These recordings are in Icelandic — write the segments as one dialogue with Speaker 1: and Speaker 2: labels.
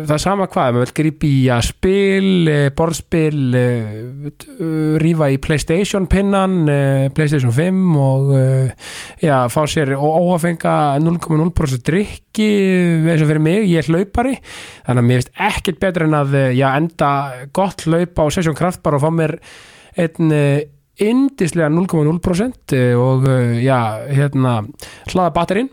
Speaker 1: Það er sama hvað, maður vil grípa í að spil, eh, borðspil, eh, uh, rífa í Playstation pinnan, eh, Playstation 5 og eh, já, fá sér óafenga 0,0% drikki eh, eins og fyrir mig, ég er hlaupari þannig að mér finnst ekkert betur en að eh, já, enda gott hlaupa á Session Kraftbar og fá mér einn eh, yndislega 0,0% eh, og eh, já, hérna hlaða batterinn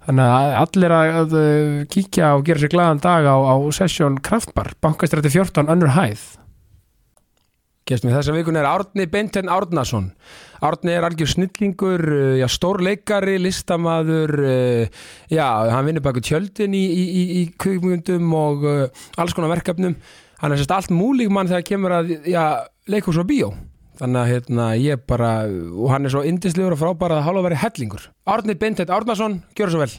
Speaker 1: Þannig að allir að, að eh, kíkja og gera sér glaðan dag á, á sessjón kraftbar, bankastræti 14, önnur hæð. Gæst með þessa vikun er Árni Benten Árnason. Árni er algjör snillingur, eh, já, stórleikari, listamaður, eh, já, hann vinnur baku tjöldin í, í, í, í kvikmyndum og eh, alls konar verkefnum. Hann er sérst allt múlík mann þegar kemur að, já, leikhús og bíó. Þannig að hérna, ég bara, og hann er svo yndislegur og frábæra að hálfa að vera hellingur. Árni Benten Árnason, gjör svo vel.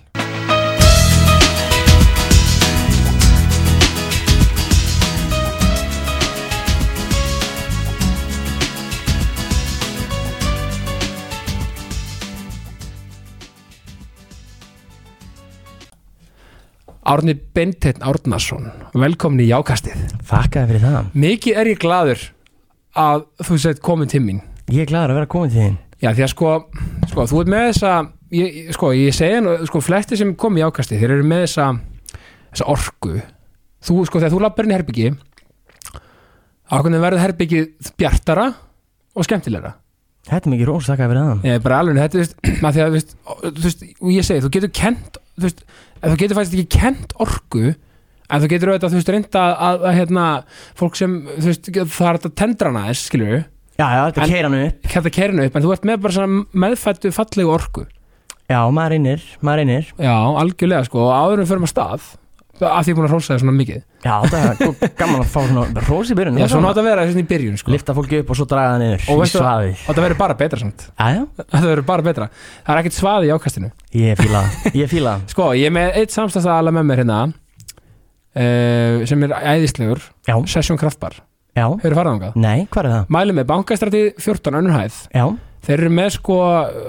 Speaker 1: Árni Benten Árnason, velkomin í Jákastið.
Speaker 2: Þakkaði fyrir það
Speaker 1: Mikið er ég gladur að þú sett komin til mín
Speaker 2: Ég er gladur að vera komin til þín
Speaker 1: Já, því að sko, sko þú ert með þessa ég, ég- sko, ég segja nú, sko, flesti sem kom í ákasti, þeir eru með þessa þessa orku þú, sko, þegar þú lappar inn í herbyggi ákveðin verður herbyggi bjartara og skemmtilegra
Speaker 2: Þetta er mikið rós, þakkaði fyrir það
Speaker 1: ég er bara alveg, þetta, þú veist, að því að, þú veist, ó, þú veist og ég segi, þú getur kent þú veist, ef þú getur fæst ekki kent orku en þú getur auðvitað, þú veist, reynda að, að, að hérna, fólk sem, þú veist það er þetta tendrana þess, skilur við
Speaker 2: Já, já, þetta
Speaker 1: En-
Speaker 2: keira hann upp
Speaker 1: kæft að kerinu upp, en þú ert með bara svona meðfættu fallegu orku
Speaker 2: Já, maður innir, maður innir
Speaker 1: Já, algjörlega sko, og áður en við förum að stað að því ég er búin að hrósa þér svona mikið
Speaker 2: Já, þetta er gó- gaman að fá svona rós í byrjun
Speaker 1: Já,
Speaker 2: það er
Speaker 1: svona átt að vera svona í byrjun sko
Speaker 2: Lifta fólki upp og svo draga það niður
Speaker 1: Og
Speaker 2: Í
Speaker 1: veistu-
Speaker 2: svaðið
Speaker 1: og það verður bara betra samt
Speaker 2: Já, já,
Speaker 1: Það verður bara betra Það er ekkert svaði í ákastinu
Speaker 2: ég fíla það Ég fíla það
Speaker 1: Sko, ég er með eitt samstæðsaðala með mér hérna uh, sem er æðislegur
Speaker 2: Já,
Speaker 1: Session Kraftbar
Speaker 2: já
Speaker 1: Hefur farað þangað?
Speaker 2: Nei, hvað er það?
Speaker 1: Mælum með bankastræti 14 önnur hæð
Speaker 2: Já,
Speaker 1: Þeir eru með sko,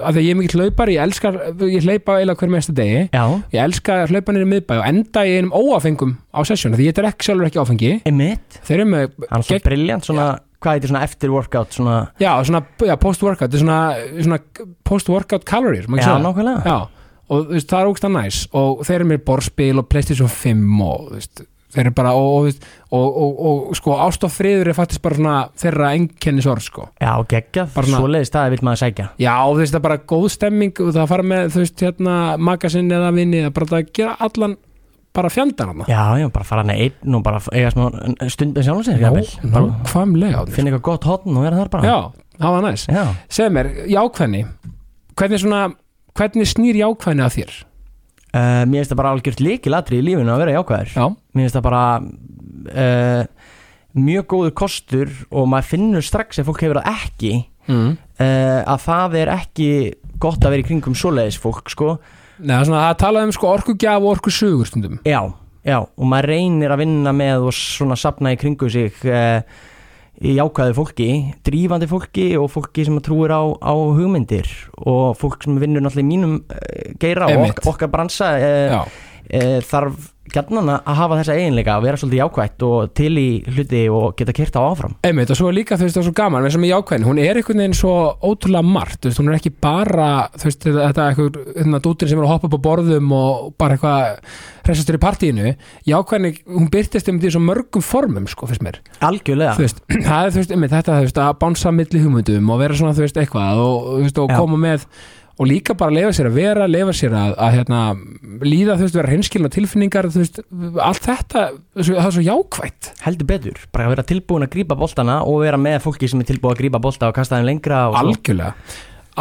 Speaker 1: af því að ég er mikill hlaupar Ég elskar, ég hlaupa eiginlega hver meðasta degi
Speaker 2: já,
Speaker 1: Ég elska að hlaupa niður í miðbæ og enda í einum óafengum á sessjónu því ég drekk sjálfur ekki áfengi
Speaker 2: einmitt
Speaker 1: þeir eru með,
Speaker 2: Hann er svo
Speaker 1: Gegn-
Speaker 2: briljant svona Hvað heitir svona eftir workout svona
Speaker 1: já, svona já, post-workout, þetta er svona, svona post-workout calories, má ekki
Speaker 2: Já,
Speaker 1: segja það?
Speaker 2: nákvæmlega
Speaker 1: Já, og þú veist, það er ógst að næs og þeir eru með borðspil og Playstation 5 og þú veist, þeir eru bara og, og, þú veist, og, og, og, sko, ást og friður er fattist bara svona þeirra engkennisorð sko.
Speaker 2: Já, geggjað
Speaker 1: Bara svona-
Speaker 2: Svoleiðis staði vill maður sækja
Speaker 1: Já, þú veist, það er bara góð stemming og það fara með, þú veist, hérna, makasinn eða vinni, það er bara að gera allan bara fjandan hana.
Speaker 2: Já, já, bara fara hann einn og bara eiga smá stund með sjálfum sér jafnvel. Bara
Speaker 1: Nákvæmlega
Speaker 2: Finna eitthvað gott hotn og vera þar bara
Speaker 1: Já, það var næs
Speaker 2: já.
Speaker 1: Segð mér, jákvæðni Hvernig, svona, hvernig snýr jákvæðni að þér?
Speaker 2: Uh, mér finnst það bara algjört líkilatri í lífinu að vera jákvæður
Speaker 1: Já,
Speaker 2: mér finnst það bara uh, mjög góður kostur og maður finnur strax ef fólk hefur það ekki
Speaker 1: mm.
Speaker 2: uh, að það er ekki gott að vera í kringum svoleiðis fólk sko
Speaker 1: Nei, það er svona, það talaði um sko orkugjaf og orkusugur stundum
Speaker 2: já, já, og maður reynir að vinna með og svona sapna í kringum sig uh, í jákvæðu fólki drífandi fólki og fólki sem trúir á, á hugmyndir og fólk sem vinnur náttúrulega í mínum uh, geira og
Speaker 1: Einmitt.
Speaker 2: ok okkar bransa uh,
Speaker 1: Já,
Speaker 2: e, þarf gjarnan að hafa þessa eiginleika að vera svolítið jákvætt og til í hluti og geta kert á áfram
Speaker 1: einmitt og svo er líka þú veist það er svo gaman eins og með jákvæðni, hún er einhvern veginn svo ótrúlega margt, þú veist, hún er ekki bara þú veist, þetta þetta er eitthvað, hérna, dútin sem er að hoppa upp á borðum og bara eitthvað resastur í partíinu, jákvæðni hún byrtist um því svo mörgum formum sko, fyrst mér þú
Speaker 2: algjörlega,
Speaker 1: veist, það er þú veist, einmitt, þetta þú veist, að bánsa milli hugmyndum og vera svona þú veist, eitthvað og, þú veist, og
Speaker 2: Já.
Speaker 1: koma með og líka bara leifa sér að vera, leifa sér að, að hérna, líða, þú veist, vera hinskilna tilfinningar, þú veist, allt þetta svo- það er svo jákvætt
Speaker 2: heldur betur, bara að vera tilbúin að grípa boltana og vera með fólki sem er tilbúin að grípa bolta og kasta þeim lengra og svo.
Speaker 1: algjörlega,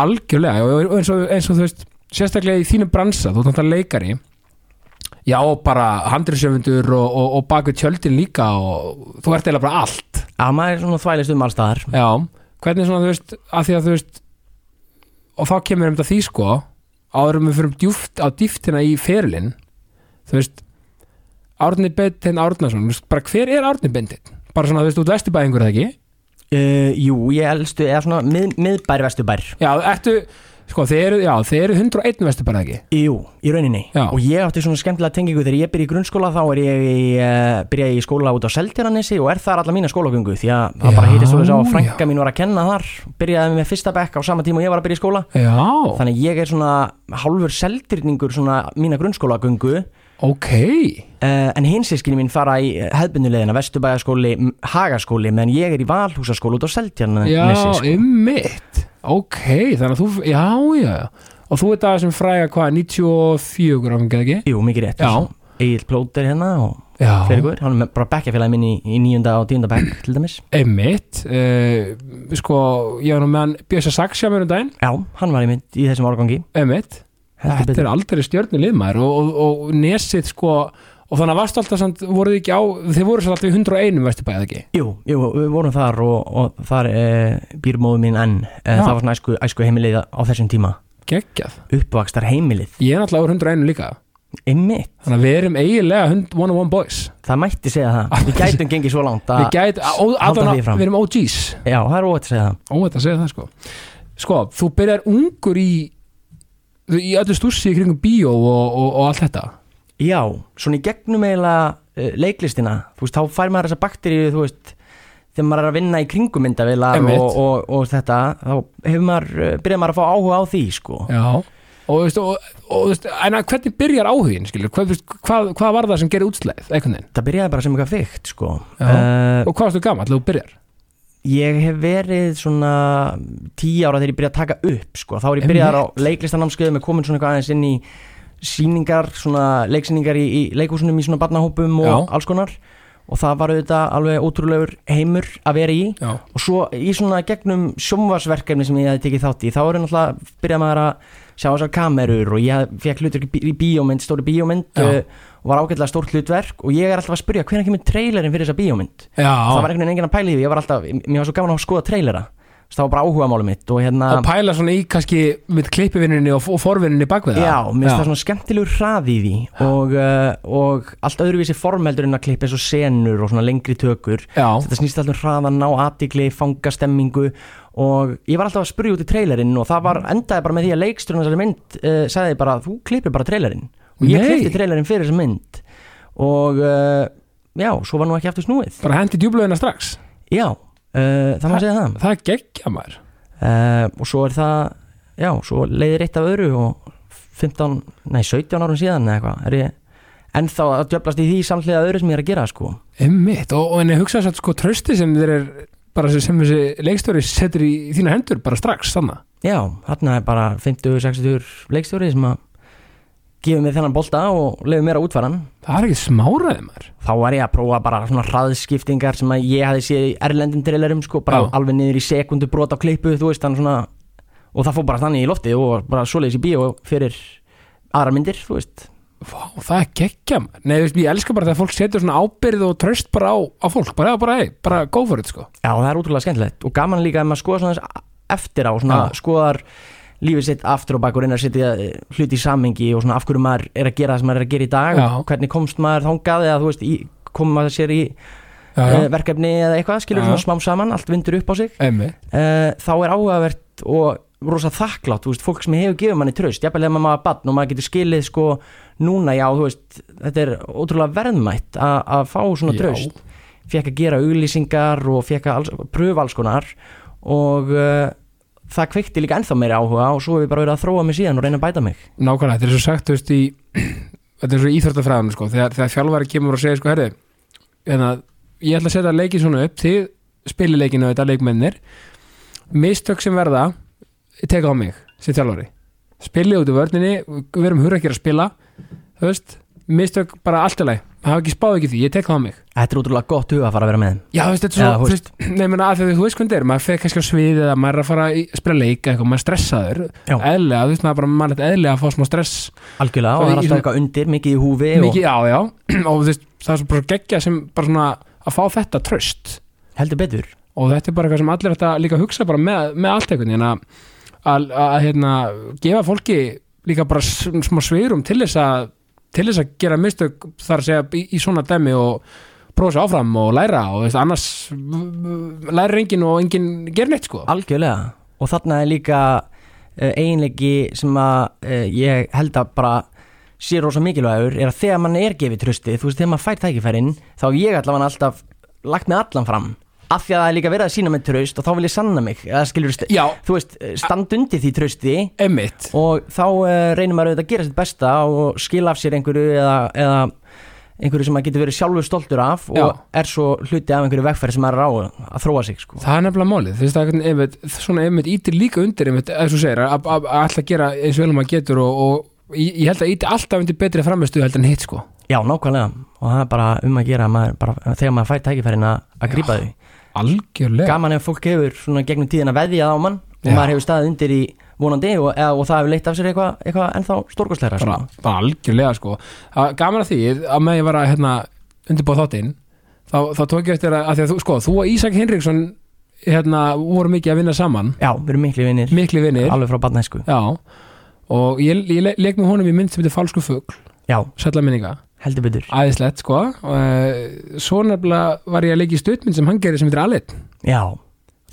Speaker 1: algjörlega og og eins og, eins og þú veist, sérstaklega í þínu bransa, þú ert að leikari já, og bara handriðsjöfundur og, og, og bakið tjöldin líka og þú ert eiginlega bara allt
Speaker 2: að maður er svona þvælist um allstaðar
Speaker 1: já, hvernig svona, þú veist, að því að þú veist og þá kemur um þetta því sko áðurum við fyrir djúft á dýftina í ferilinn þú veist, Árni Bendin Árnason, þú veist, bara hver er Árni Bendin? bara svona, þú veist, út vesturbæðingur eða ekki
Speaker 2: uh, Jú, ég elstu, eða svona mið, miðbær, vesturbær
Speaker 1: já, ertu, sko, þeir eru, já, þeir eru 101 vesturbæð ekki
Speaker 2: Jú, í rauninni
Speaker 1: Já.
Speaker 2: og ég átti svona skemmtilega tengingu þegar ég byrja í grunnskóla þá er ég í, uh, byrja í skóla út á Seltjarnanesi og er þar alla mína skólagöngu því að það bara
Speaker 1: Já,
Speaker 2: hýttist svo þess að
Speaker 1: já.
Speaker 2: frænka mín var að kenna þar byrjaði með fyrsta bekk á sama tíma og ég var að byrja í skóla
Speaker 1: Já,
Speaker 2: þannig að ég er svona hálfur seltirningur svona mína grunnskólagöngu uh,
Speaker 1: ok
Speaker 2: en hinsískinni mín fara í hefðbundulegina Vesturbæjaskóli, M- Hagaskóli meðan ég er í Valhúsaskóli út á
Speaker 1: Já,
Speaker 2: Seltjarnanesi sko.
Speaker 1: ymmit Ok, þannig að þú, já, já Og þú ert aðeins sem fræga hvað, 94 gráfingi eða ekki?
Speaker 2: Jú, mikið rétt
Speaker 1: Já.
Speaker 2: Egil Plóter hérna og
Speaker 1: Já,
Speaker 2: fleiri guður, hann er með- bara bekkjafélagi minn í, í nýjunda og tíunda bekk til dæmis
Speaker 1: ymmit uh, Sko, ég var nú með hann Bjösa Saxja mér um daginn,
Speaker 2: Já, hann var einmitt í þessum árgangi
Speaker 1: ymmit
Speaker 2: Heldur
Speaker 1: Þetta
Speaker 2: betur.
Speaker 1: er aldrei stjörnulið maður og, og, og nesið sko Og þannig að varstu alltaf samt, voruð þið ekki á Þið voruð samt alltaf í 101 veistu bæðið ekki
Speaker 2: Jú, jú, við vorum þar og, og þar e, býr móðu mín enn e,
Speaker 1: Já.
Speaker 2: Það var svona æsku, æsku heimilið á þessum tíma
Speaker 1: Geggjað
Speaker 2: Uppvakstar heimilið,
Speaker 1: Ég er alltaf úr 101 líka
Speaker 2: einmitt
Speaker 1: Þannig að við erum eiginlega 100 one-on-one boys
Speaker 2: Það mætti segja það, við gætum gengið svo langt
Speaker 1: Við
Speaker 2: að,
Speaker 1: gæt, á,
Speaker 2: Ah, halda
Speaker 1: allan
Speaker 2: því
Speaker 1: að-
Speaker 2: fram.
Speaker 1: við erum OGs
Speaker 2: Já, það er óvægt að segja það
Speaker 1: Óvægt að segja það sko Sko, þú byrjar ungur í í öllu stússi í kringum bíó og, og, og allt þetta
Speaker 2: Já, svona í gegnum eiginlega e, leiklistina Þú veist, þá fær maður þessa bakteríu, þú veist Þegar maður er að vinna í kringumyndavilar
Speaker 1: Einmitt.
Speaker 2: og, og, og þetta Þá hefur maður, eh, byrjar maður að fá áhuga á því, sko
Speaker 1: Já Og, veist, og, og veist, en að hvernig byrjar áhugin skilur, hvað, veist, hvað, hvað var það sem gerir útslæð einhvern veginn,
Speaker 2: Það byrjaði bara sem eitthvað fyrkt, sko
Speaker 1: Já.
Speaker 2: Eh,
Speaker 1: og hvað varstu gamall þegar þú byrjar
Speaker 2: Ég hef verið svona tíu ára þegar ég byrjaði að taka upp sko. þá er ég byrjaði á leiklistanámskeið með komin svona eitthvað aðeins inn í síningar, svona leiksýningar í, í leikhúsunum í svona barnahópum og
Speaker 1: Já.
Speaker 2: alls konar og það var auðvitað alveg ótrúlegur heimur að vera í
Speaker 1: Já,
Speaker 2: og svo í svona gegnum sjónvarsverkefni sem ég hafði tekið þátt í þá er náttúrulega byrjaði maður að sjá þessar kamerur og ég fekk hlutur í bíómynd, stóri bíómynd
Speaker 1: Já.
Speaker 2: uh, og var ágætlega stórt hlutverk og ég er alltaf að spyrja hvernig kemur trailerinn fyrir þessa bíómynd það var
Speaker 1: já.
Speaker 2: einhvern veginn enginn að pæla í því ég var alltaf, mér var svo gaman að skoða trailera Þess, það var bara áhuga málum mitt og hérna
Speaker 1: að pæla svona í kannski með klippivinninni og, og forvinninni bakvið það
Speaker 2: já, mér finnst það svona skemmtilegur hraði í því og, uh, og allt öðruvísi formeldur en að klippa eins og senur og svona lengri tökur
Speaker 1: Já,
Speaker 2: þetta snýst alltaf um hraðan, ná aðtikli, fanga stemmingu og ég var alltaf að spurja út í trailerinn og það
Speaker 1: Mm.
Speaker 2: var endaði bara með því að leiksturinn þessari mynd uh, sagði bara, þú klippir bara trailerinn og ég
Speaker 1: Nei.
Speaker 2: klippti trailerinn fyrir þessa mynd og uh, já, svo var nú ekki aftur snúið
Speaker 1: bara hendi djúblöðina strax
Speaker 2: já, uh, það má segja það
Speaker 1: Það geggja maður
Speaker 2: uh, og svo er það já, svo leiðir eitt af öðru og 15, nei 17 árum síðan eða eitthvað, er ég ennþá að djöflast í því samhliða öðru sem ég er að gera sko
Speaker 1: Einmitt, og, og en ég hugsa þess að sko trösti sem þeir er bara sem- sem þessi leikstöri setur í þína hendur bara strax þannig
Speaker 2: já, þarna er bara 50-60 leikstjóri sem að gefur mér þennan bolta og leiður mér að útfæra hann
Speaker 1: Það er ekki smáraði maður
Speaker 2: þá var ég að prófa bara svona hraðskiptingar sem að ég hafi séð í erlendum trailerum sko, bara
Speaker 1: Já.
Speaker 2: alveg niður í sekundu brot á klippu þú veist, þannig svona og það fór bara þannig í loftið og bara svoleiðis í bíó fyrir aðra myndir, þú veist
Speaker 1: Vá, það er geggja maður Nei, þú veist, ég elska bara þegar fólk setur svona ábyrð og tröst bara á, á fólk bara, já, bara, hei, bara go for it sko
Speaker 2: Já, það er útrúlega skemmtilegt og gaman líka að maður skoða svona aðeins eftir á svona
Speaker 1: Já.
Speaker 2: skoðar lífið sitt aftur og bak og reyna að setja eh, hluti í samhengi og svona af hverju maður er að gera það sem maður er að gera í dag
Speaker 1: Já.
Speaker 2: og hvernig komst maður þangað eða þú veist, í, kom maður sér í
Speaker 1: Já,
Speaker 2: uh,
Speaker 1: já,
Speaker 2: verkefni eða eitthvað, skilur
Speaker 1: Já.
Speaker 2: svona smám saman allt vindur upp á sig
Speaker 1: emmi
Speaker 2: uh, þá er áhugavert og rosa þakklátt, þú veist, fólk sem hefur gefið manni tröst, jafnvel ef maður var barn og maður getur skilið sko núna, já, þú veist þetta er ótrúlega verðmætt a- að fá svona
Speaker 1: Já.
Speaker 2: tröst fekk að gera auglýsingar og fekk að alls, pröfa alls konar og uh, það kveikti líka ennþá meiri áhuga og svo hef ég bara verið að þróa mig síðan og reyna að bæta mig
Speaker 1: Nákvæmlega, þetta er svo sagt, þú veist, í þetta er svo íþjórtafræðan, sko, þegar, þegar fjálfari kemur og segir, sko, herri, hérna ég ætla að setja leikin svona upp, þið spili leikinu þetta leikmennir mistök sem verða, ég tek á mig, sem þjálfari spilið út í vörninni við erum hurrakir að spila þú veist, mistök bara allt í lagi maður hafa ekki spáð ekki því, ég tek það á mig
Speaker 2: Þetta er útrúlega gott huga að fara að vera með þeim
Speaker 1: Já, þú veist, þetta
Speaker 2: Eða,
Speaker 1: er
Speaker 2: þú
Speaker 1: svo, þú veist, nei, menna, að því þú veist hvernig þetta er, maður fer kannski á svið eða maður er að fara í- að spila leika eitthvað, maður er stressaður,
Speaker 2: Já.
Speaker 1: eðlega, þú veist, maður er bara mann eðlega að fá smá stress,
Speaker 2: Algjörlega og
Speaker 1: Svo
Speaker 2: það er
Speaker 1: í-
Speaker 2: alltaf eitthvað undir, mikið í húfi
Speaker 1: mikið, já, já, og þú veist, það er svo bara geggja sem bara svona að fá þetta tröst
Speaker 2: og heldur betur
Speaker 1: og þetta er bara eitthvað sem allir þetta líka að hugsa bara með, með allt eitthvað, en að, að, að, hérna, gefa fólki líka bara s- smá sviðrum til þess að, til þess að gera mistök þar að segja í, í svona dæmi og prófa sér áfram og læra og þú veist, annars v- v- lærir enginn og enginn gerir neitt sko.
Speaker 2: Algjörlega og þarna er líka uh, eiginleiki sem að uh, ég held að bara sé rosa mikilvægur er að þegar mann er gefið trösti þú veist þegar maður fær tækifærin þá hef ég allavega alltaf lagt mig allan fram af því að það er líka verið að sína mig tröst og þá vil ég sanna mig eða skilur
Speaker 1: Já,
Speaker 2: þú veist eh, standa undir því trösti
Speaker 1: emmitt
Speaker 2: og þá uh, reynir maður auðvitað að gera sitt besta og skila af sér einhverju eða, eða einhverju sem maður getur verið sjálfur stoltur af og
Speaker 1: Já.
Speaker 2: er svo hluti af einhverju vegferð sem maður er á að þróa sig sko.
Speaker 1: Það er nefnilega málið, þú veist það er einhvern- einmitt, svona einmitt ítir líka undir einmitt, eins og segir, að- að að ætla að gera eins vel og maður getur og, og ég ég held að íti alltaf undir betri framistu heldur en hitt sko
Speaker 2: Já, nákvæmlega og það er bara um að gera að maður, bara, þegar maður fær tækifærin að, að grípa þau
Speaker 1: Algjörlega
Speaker 2: Gaman ef fólk hefur svona gegnum tíðina veðjað á mann og
Speaker 1: Já.
Speaker 2: maður hefur staðið undir í vonandi og, eða, og það hefur leitt af sér eitthvað eitthva ennþá stórkostleira
Speaker 1: bara,
Speaker 2: sko.
Speaker 1: bara algjörlega sko að, Gaman að því að með ég var að hérna, undirbúið þáttinn þá, þá tók ég eftir að, að, því að þú, sko, þú og Ísak Hinriksson hérna, voru mikið að vinna saman
Speaker 2: Já, við erum miklu vinnir
Speaker 1: mikli vinnir
Speaker 2: alveg frá barnæsku
Speaker 1: Já, og ég, ég le- leik með honum í mynd sem þetta falsku fugl,
Speaker 2: Já,
Speaker 1: sætla minninga
Speaker 2: heldur betur
Speaker 1: Æðislegt sko og, eh, Svo nefnilega var ég að leika í stutmynd sem hann gerir sem heitir Alit
Speaker 2: Já,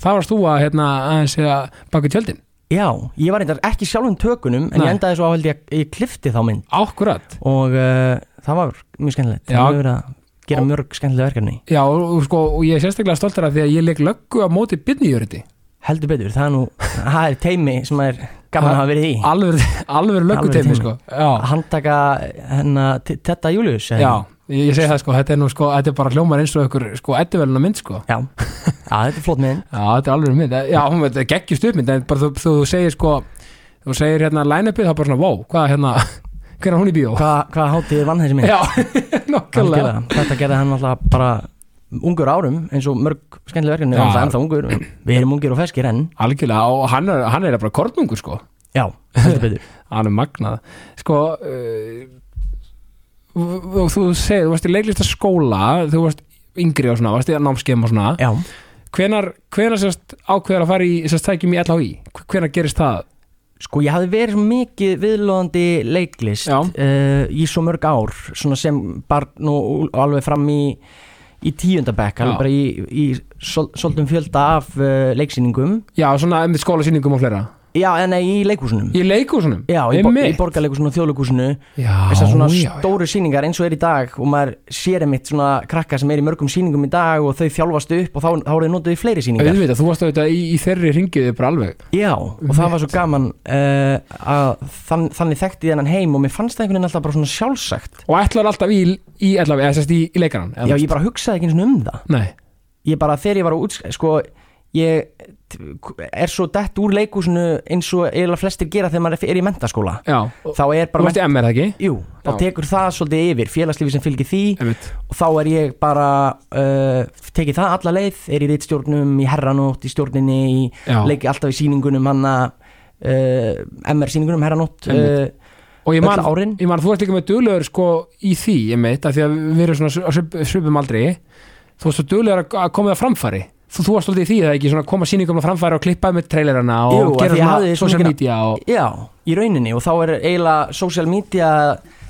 Speaker 1: Það varst þú að hérna aðeins að baka tjöldin
Speaker 2: já, ég var eitthvað ekki sjálfum tökunum en ég
Speaker 1: Nei.
Speaker 2: endaði svo á held ég að ég klifti þá mynd
Speaker 1: Ákkurat
Speaker 2: og uh, það var mjög skemmtilegt
Speaker 1: Já.
Speaker 2: Það hefur verið að gera mörg skemmtilega verkefni
Speaker 1: Já og, og, sko, og ég er sérstaklega stoltar af því að ég leik löggu á móti byrnijörði
Speaker 2: Heldur betur, það er nú, það er teimi sem er gaman að hafa verið í
Speaker 1: Alveg, alveg löggu
Speaker 2: Alvöru
Speaker 1: teimi
Speaker 2: teimi.
Speaker 1: sko Já,
Speaker 2: handtaka hérna, hennar Tetta Július
Speaker 1: já ég, ég segi það sko þetta er nú sko Þetta er bara hljómar eins og ykkur sko eddivelna mynd sko
Speaker 2: já. Já, þetta er flott með
Speaker 1: Já, þetta er alveg mynd Eh, Já, hún veit, geggjur stutmynd En bara þú, þú, þú segir sko Þú segir hérna line-upið þá bara svona Vó, hvað hérna Hvernig er hún í bíó?
Speaker 2: Hva, hvað hátíð vann þessi mynd
Speaker 1: Já, nokkulega
Speaker 2: Algjörlega. þetta gerði hann alltaf bara ungur árum eins og mörg skemmtileg verkefni
Speaker 1: Já.
Speaker 2: hann er ennþá ungur, við erum ungir og feskir enn
Speaker 1: Algjörlega, og hann er, hann er bara kornungur sko
Speaker 2: já, heldur betur
Speaker 1: hann er magnað sko uh, og þú segir, þú varst í leiklistaskóla þú varst yngri og svona, varst í námskeim og svona,
Speaker 2: já,
Speaker 1: hvenar, hvenar sérst ákveður að fara í sérst tækjum í LHI hvenar gerist það?
Speaker 2: sko ég hafði verið svo mikið viðlóðandi leiklist
Speaker 1: Já.
Speaker 2: uh, í svo mörg ár svona sem barn og og alveg fram í í tíundabekk, alveg
Speaker 1: Já.
Speaker 2: bara í, í sol- svolítum fjölda af uh, leiksýningum
Speaker 1: Já, svona með skólasýningum og fleira
Speaker 2: já, en nei, í leikhúsunum
Speaker 1: í leikhúsunum?
Speaker 2: Já, í, bo í
Speaker 1: Einmitt.
Speaker 2: borgarleikusinu og þjóðleikusinu
Speaker 1: Já,
Speaker 2: Þessar svona
Speaker 1: já, já.
Speaker 2: stóru síningar eins og er í dag og maður sér einmitt svona krakka sem er í mörgum síningum í dag og þau þjálfast upp og þá, þá eru þau notuð í fleiri síningar
Speaker 1: Auðvitað, þú varst auðvitað í, í þeirri ringiði bara alveg
Speaker 2: Já, og það var svo gaman uh, að þann, þannig þekkti ég þennan heim og mér fannst það einhvern veginn alltaf bara svona sjálfsagt
Speaker 1: og ætlar alltaf í, í LHI, eða sérst í, í leikarann
Speaker 2: Já, ég bara hugsaði ekki einu sinni um það
Speaker 1: Nei,
Speaker 2: Ég bara, þegar ég var á útskæð, sko ég t- er svo dett úr leikúsinu eins og eiginlega flestir gera þegar maður er í mentaskóla
Speaker 1: já, og,
Speaker 2: Þá er
Speaker 1: þú
Speaker 2: bara,
Speaker 1: varst í MR, eða ekki?
Speaker 2: jú, þá
Speaker 1: Já.
Speaker 2: tekur það svolítið yfir, félagslífi sem fylgir því
Speaker 1: Einmitt.
Speaker 2: og þá er ég bara uh, tekið það alla leið, er í reitstjórnum í herranótt, í stjórninni í
Speaker 1: Já.
Speaker 2: leiki alltaf í síningunum hanna uh, MR síningunum herranótt uh,
Speaker 1: Einmitt. og ég man,
Speaker 2: öll árin.
Speaker 1: ég man, þú ert líka með duglegur sko í því, ég meitt, af því að við erum svona á svip- svipum aldri þú varst svo duglegur að- að koma það framfæri þú, þú varst svolítið í því, það ekki, svona að koma sýningum á framfæri og klippa með trailerana og
Speaker 2: Jú, af
Speaker 1: gera
Speaker 2: því ég
Speaker 1: svona
Speaker 2: hafði svo
Speaker 1: social
Speaker 2: mikið-
Speaker 1: media og,
Speaker 2: Já, í rauninni og þá er eiginlega social media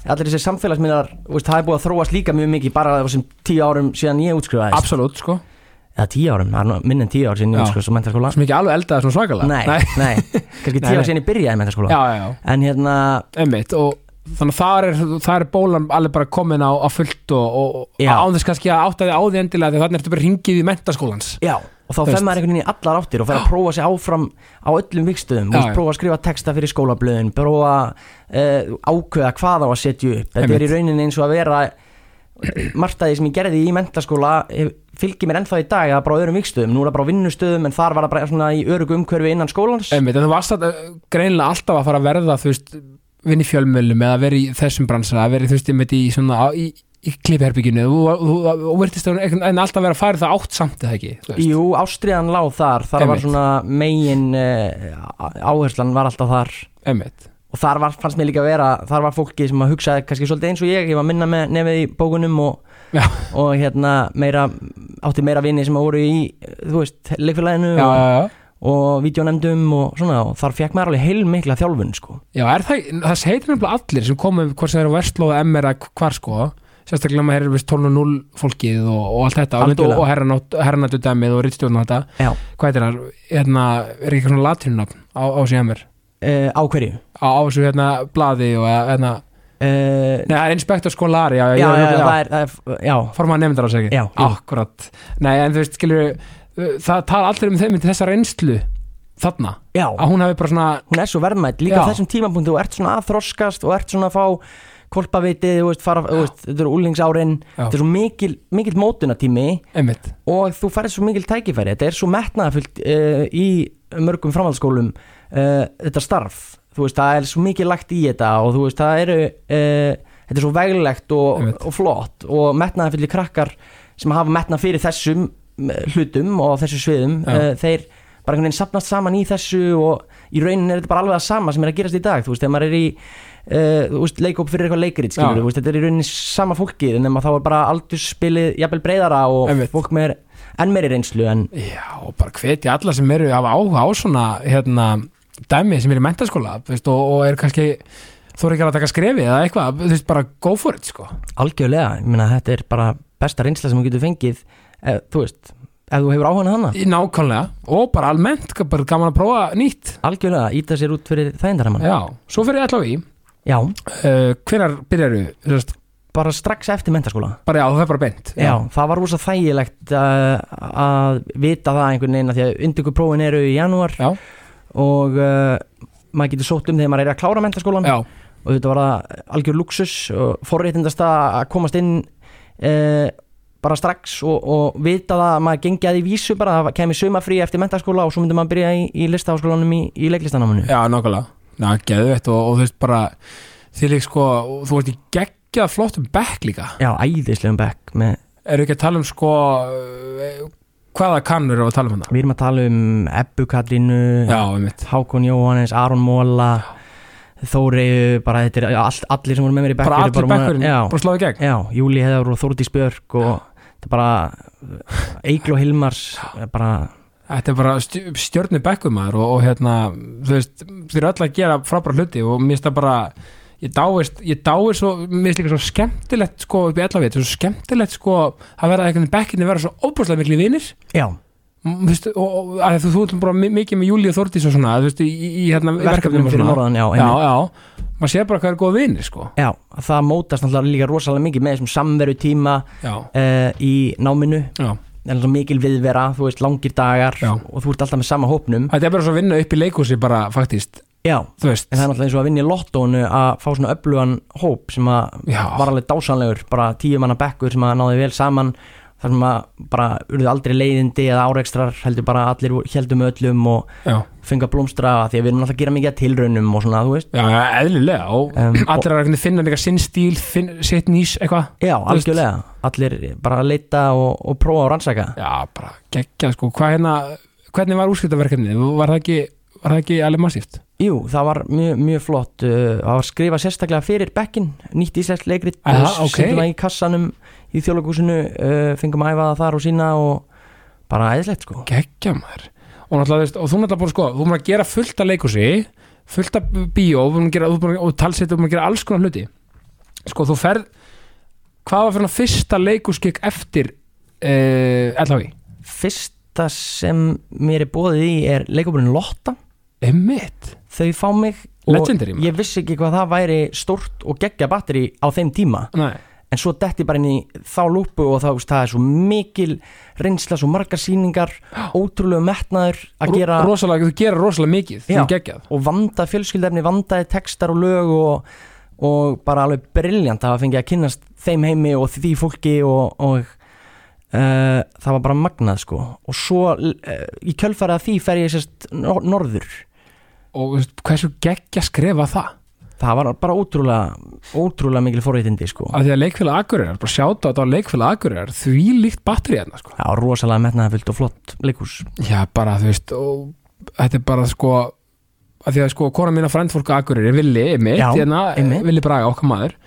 Speaker 2: allir þessi samfélagsmiðlar, þú veist, það er búið að þróast líka mjög mikið bara á þessum tíu árum síðan ég útskrifaðist
Speaker 1: absolutt, sko
Speaker 2: eða tíu árum, það er nú minn en tíu ár síðan
Speaker 1: Já.
Speaker 2: ég útskrifaðist á mentaskóla
Speaker 1: sem ekki alveg eldaði svona svakalega
Speaker 2: Nei, nei,
Speaker 1: Nei,
Speaker 2: kannski tíu
Speaker 1: nei.
Speaker 2: ár síðan ég byrjaði í mentaskóla
Speaker 1: já, já, já,
Speaker 2: en hérna,
Speaker 1: einmitt og þannig að þar er, þar er bólan alveg bara komin á, á fullt og, og, og
Speaker 2: Já.
Speaker 1: án þess kannski að átta þig á því endilega því að þannig ertu bara ringið í mentaskólans
Speaker 2: Já, og þá
Speaker 1: Þú
Speaker 2: fer
Speaker 1: veist.
Speaker 2: maður einhvern veginn í allar áttir og fer að prófa sig áfram á öllum vikstöðum,
Speaker 1: Já,
Speaker 2: þú veist,
Speaker 1: já.
Speaker 2: prófa að skrifa texta fyrir skólablöðin, prófa uh, ákveða hvað á að setja upp, þetta
Speaker 1: Einmitt.
Speaker 2: er í rauninni eins og að vera margt af því sem ég gerði í mentaskóla eh, fylgir mér ennþá í dag að bara á öðrum vikstöðum, nú er það bara á vinnustöðum en þar var það bara svona í örugu umhverfi innan skólans
Speaker 1: Einmitt, en þú varst að, greinlega alltaf að fara að verða þú veist, vinni fjölmjölum eða verið í þessum bransara, verið þú veist, einmitt í svona, á- í, í klippherbygginu þú, þú, þú, þú verðist að, en alltaf vera að fara það átt samt eða ekki, þú veist
Speaker 2: Jú, ástriðan lág þar, þar var
Speaker 1: Einmitt.
Speaker 2: svona megin uh, áherslan var alltaf þar
Speaker 1: einmitt,
Speaker 2: og þar var, fannst mér líka að vera, þar var fólki sem að hugsaði kannski svolítið eins og ég, ég var minna með nefið í bókunum og,
Speaker 1: Já.
Speaker 2: og hérna meira, átti meira vini sem að voru í, eh, þú veist, leikfélaginu
Speaker 1: já,
Speaker 2: og,
Speaker 1: já, já
Speaker 2: og vídjónemdum og svona og þar fekk maður alveg heilmikla þjálfun sko.
Speaker 1: Já, er það, það heitir nefnilega allir sem komum hvort sem þeir eru Vestló og MR að hvar sko sérstaklega maður herrið vist 12 og 0 fólkið og, og allt þetta og,
Speaker 2: Algjörlega.
Speaker 1: og herranatu dæmið og rittstjórn og þetta
Speaker 2: Já,
Speaker 1: hvað heitir það, hérna, er ekki svona latínunafn á, á þessu MR
Speaker 2: uh, á hverju?
Speaker 1: á, á þessu hérna blaði og hérna,
Speaker 2: Uh,
Speaker 1: nei það er inspektor skolari já, ég-
Speaker 2: já, já,
Speaker 1: ég-
Speaker 2: já, það er, það er, já,
Speaker 1: formaða nefndar á segi
Speaker 2: Já, jú.
Speaker 1: akkurat, nei en þú veist skilur uh, það tala allir um þeim til þessa reynslu þarna,
Speaker 2: já,
Speaker 1: að hún hafi bara svona
Speaker 2: hún er svo verðmætt líka
Speaker 1: Já.
Speaker 2: á þessum tímapunktu og ert svona að þroskast og ert svona að fá kolpavitið, þú veist, fara, þú veist, þetta eru úlingsárin,
Speaker 1: Já.
Speaker 2: þetta er svo mikil, mikil mótunatími
Speaker 1: einmitt,
Speaker 2: og þú færið svo mikil tækifæri, þetta er svo metnaðafullt uh, í mörgum framhaldsskólum uh, þetta starf, þú veist, það er svo mikil lagt í þetta og þú veist, það eru, uh, þetta er svo veglegt og,
Speaker 1: Einmitt.
Speaker 2: og flott og metnaðafullir krakkar sem hafa metnað fyrir þessum eh, hlutum og þessu sviðum,
Speaker 1: Já.
Speaker 2: uh, þeir bara einhvern veginn sapnast saman í þessu og í rauninni er þetta bara alveg það sama sem er að gerast í dag, þú veist, þegar maður er í Uh, þú veist, leikop fyrir eitthvað leikrit skilur,
Speaker 1: Já.
Speaker 2: þú veist, þetta er í rauninni sama fólkið en þá er bara aldursspilið jafnvel breyðara og
Speaker 1: Einmitt.
Speaker 2: fólk með enn meiri reynslu en
Speaker 1: Já, og bara hvetja alla sem eru af áhuga á svona hérna, dæmi sem eru í mentaskóla þú veist, og, og er kannski þú eru ekki að taka skrefið eða eitthvað þú veist, bara go for it sko
Speaker 2: algjörlega, ég meina þetta er bara besta reynsla sem þú getur fengið ef, þú veist, ef þú hefur áhugan hana
Speaker 1: Í nákvæmlega og bara almennt sko, bara gaman að prófa nýtt
Speaker 2: algjörlega, íta sér út fyrir þægindaramann
Speaker 1: Já, svo fyrir ég allavega í
Speaker 2: já,
Speaker 1: uh, hvenar byrjarðu, þú veist,
Speaker 2: bara strax eftir mentaskóla
Speaker 1: bara já, það er bara beint
Speaker 2: já, það var rosa þægilegt uh, að vita það einhvern veginn af því að undirbúprófin eru í janúar
Speaker 1: Já.
Speaker 2: og uh, maður getur sótt um þegar maður er að klára mentaskólan
Speaker 1: já,
Speaker 2: og þetta var það algjör luxus og forréttindast að komast inn e, bara strax og, og vita það að maður gengi að í vísu bara það kemi sumafrí eftir mentaskóla og svo myndi maður byrja í, í listaháskólanum í, í leiklistanáminu
Speaker 1: já nákvæmlega Já, geðvett og, og þú veist bara því lík sko, og þú ert í geggjað flottum bekk líka
Speaker 2: Já, æðislegum bekk með,
Speaker 1: eru ekki að tala um sko eh, hvaða kannur eru að tala um hana
Speaker 2: við erum að tala um Ebbu Kallinu,
Speaker 1: Já, einmitt
Speaker 2: Hákon Jóhannes, Aron Móla Þóriðu, bara þetta er all, allir sem voru með mér í bekk
Speaker 1: bara
Speaker 2: eru
Speaker 1: allir
Speaker 2: búin að-
Speaker 1: bekkurinn,
Speaker 2: Já,
Speaker 1: bara sláði gegn
Speaker 2: Já, Júli Heðar og Þórdís Björk og þetta er bara Eikl og Hilmars bara,
Speaker 1: þetta er bara stjórnu bekkur maður og, og hérna, þú veist, þeir eru öll að gera frábæra hluti og mér finnst það bara ég dáist, ég dáist svo, mér finnst líka svo skemmtilegt sko upp í allaveit, svo skemmtilegt sko að vera einhvern veginn bekkinni vera svo óbúslega miklu vinir
Speaker 2: já,
Speaker 1: M- þú veist, og, og að þú, þú ert bara mi- mikið með Júli og Þórdís og svona, þú veist, í, í, í hérna í verkefnum
Speaker 2: verkefnum
Speaker 1: og
Speaker 2: fyrir
Speaker 1: svona,
Speaker 2: norðan, já,
Speaker 1: já,
Speaker 2: já.
Speaker 1: já maður sér bara hvað er góða vinir sko
Speaker 2: já það mótast náttúrulega líka rosalega mikið með þessum samveru tíma
Speaker 1: já,
Speaker 2: uh, í náminu
Speaker 1: já,
Speaker 2: en alveg mikil viðvera, þú veist, langir dagar
Speaker 1: Já.
Speaker 2: og þú ert alltaf með sama hópnum
Speaker 1: þetta er bara svo að vinna upp í leikhúsi bara faktist,
Speaker 2: já, en
Speaker 1: þú veist
Speaker 2: það er náttúrulega eins og að vinna í lottónu að fá svona öflugan hóp sem að
Speaker 1: Já.
Speaker 2: var alveg dásanlegur, bara tíu manna bekkur sem að náði vel saman þar sem að bara urðu aldrei leiðindi eða árekstrar heldur bara allir heldum öllum og
Speaker 1: já,
Speaker 2: fengu að blómstra því að við erum alltaf að gera mikið að tilraunum og svona, þú veist
Speaker 1: já, já, eðlilega og
Speaker 2: um, og-
Speaker 1: allir er að finna líka sinn stíl finn, sitt nýs eitthvað
Speaker 2: Já,
Speaker 1: veist-
Speaker 2: algjörlega, allir bara að leita og, og prófa og rannsaka
Speaker 1: já bara geggja sko hvað hérna hvernig var úrskiptaverkefni var það ekki var það ekki alveg massíft
Speaker 2: Jú, það var mjög, mjög flott uh, það var skrifað sérstaklega fyrir bekkin nýtt íslensk leikrit
Speaker 1: Aha, ok.
Speaker 2: sýndum það í kassanum í þjóðlokúsinu uh, fengum að æfa það þar og sína og bara æðislegt sko
Speaker 1: geggja maður og náttúrulega þú veist og þú náttúrulega búin sko þú búin að gera fullt af leikhúsi fullt af bíó þú búin að gera þú búin að og talsett þú búin að gera alls konar hluti sko þú ferð hvað var fyrir svona fyrsta leikhúsgekk eftir uh, LHV
Speaker 2: Fyrsta sem mér er bóðið í er leikopurinn Lotta
Speaker 1: emmitt
Speaker 2: þau fá mig
Speaker 1: Legendary,
Speaker 2: og
Speaker 1: maður.
Speaker 2: ég vissi ekki hvað það væri stórt og geggja batteri á þeim tíma
Speaker 1: nei
Speaker 2: en svo detti ég bara inn í þá lúpu og þá, þú veist, það er svo mikil reynsla, svo margar sýningar ótrúlega metnaður að
Speaker 1: Ro-
Speaker 2: gera
Speaker 1: rosalega þú gera rosalega mikið þú
Speaker 2: Já.
Speaker 1: geggjað
Speaker 2: og vanda fjölskyldefni, vandaði textar og lög og, og bara alveg briljant að hafa fengið að kynnast þeim heimi og því fólki og, og uh, það var bara magnað sko og svo uh, í kjölfarað því fer ég sérst nor norður
Speaker 1: og veist, hversu geggja skrifa það
Speaker 2: það var bara ótrúlega ótrúlega mikil forréttindi sko
Speaker 1: af því að leikfélag Akureyrar, bara sjáta þetta á leikfélag Akureyrar því líkt batteri hérna sko.
Speaker 2: það var rosalega metnaðafullt og flott leikús
Speaker 1: já bara þú veist og þetta er bara sko af því að sko kona mín að frændfólk á Akureyri villi, einmitt,
Speaker 2: Já,
Speaker 1: hérna,
Speaker 2: einmitt.
Speaker 1: villi braga okkar maður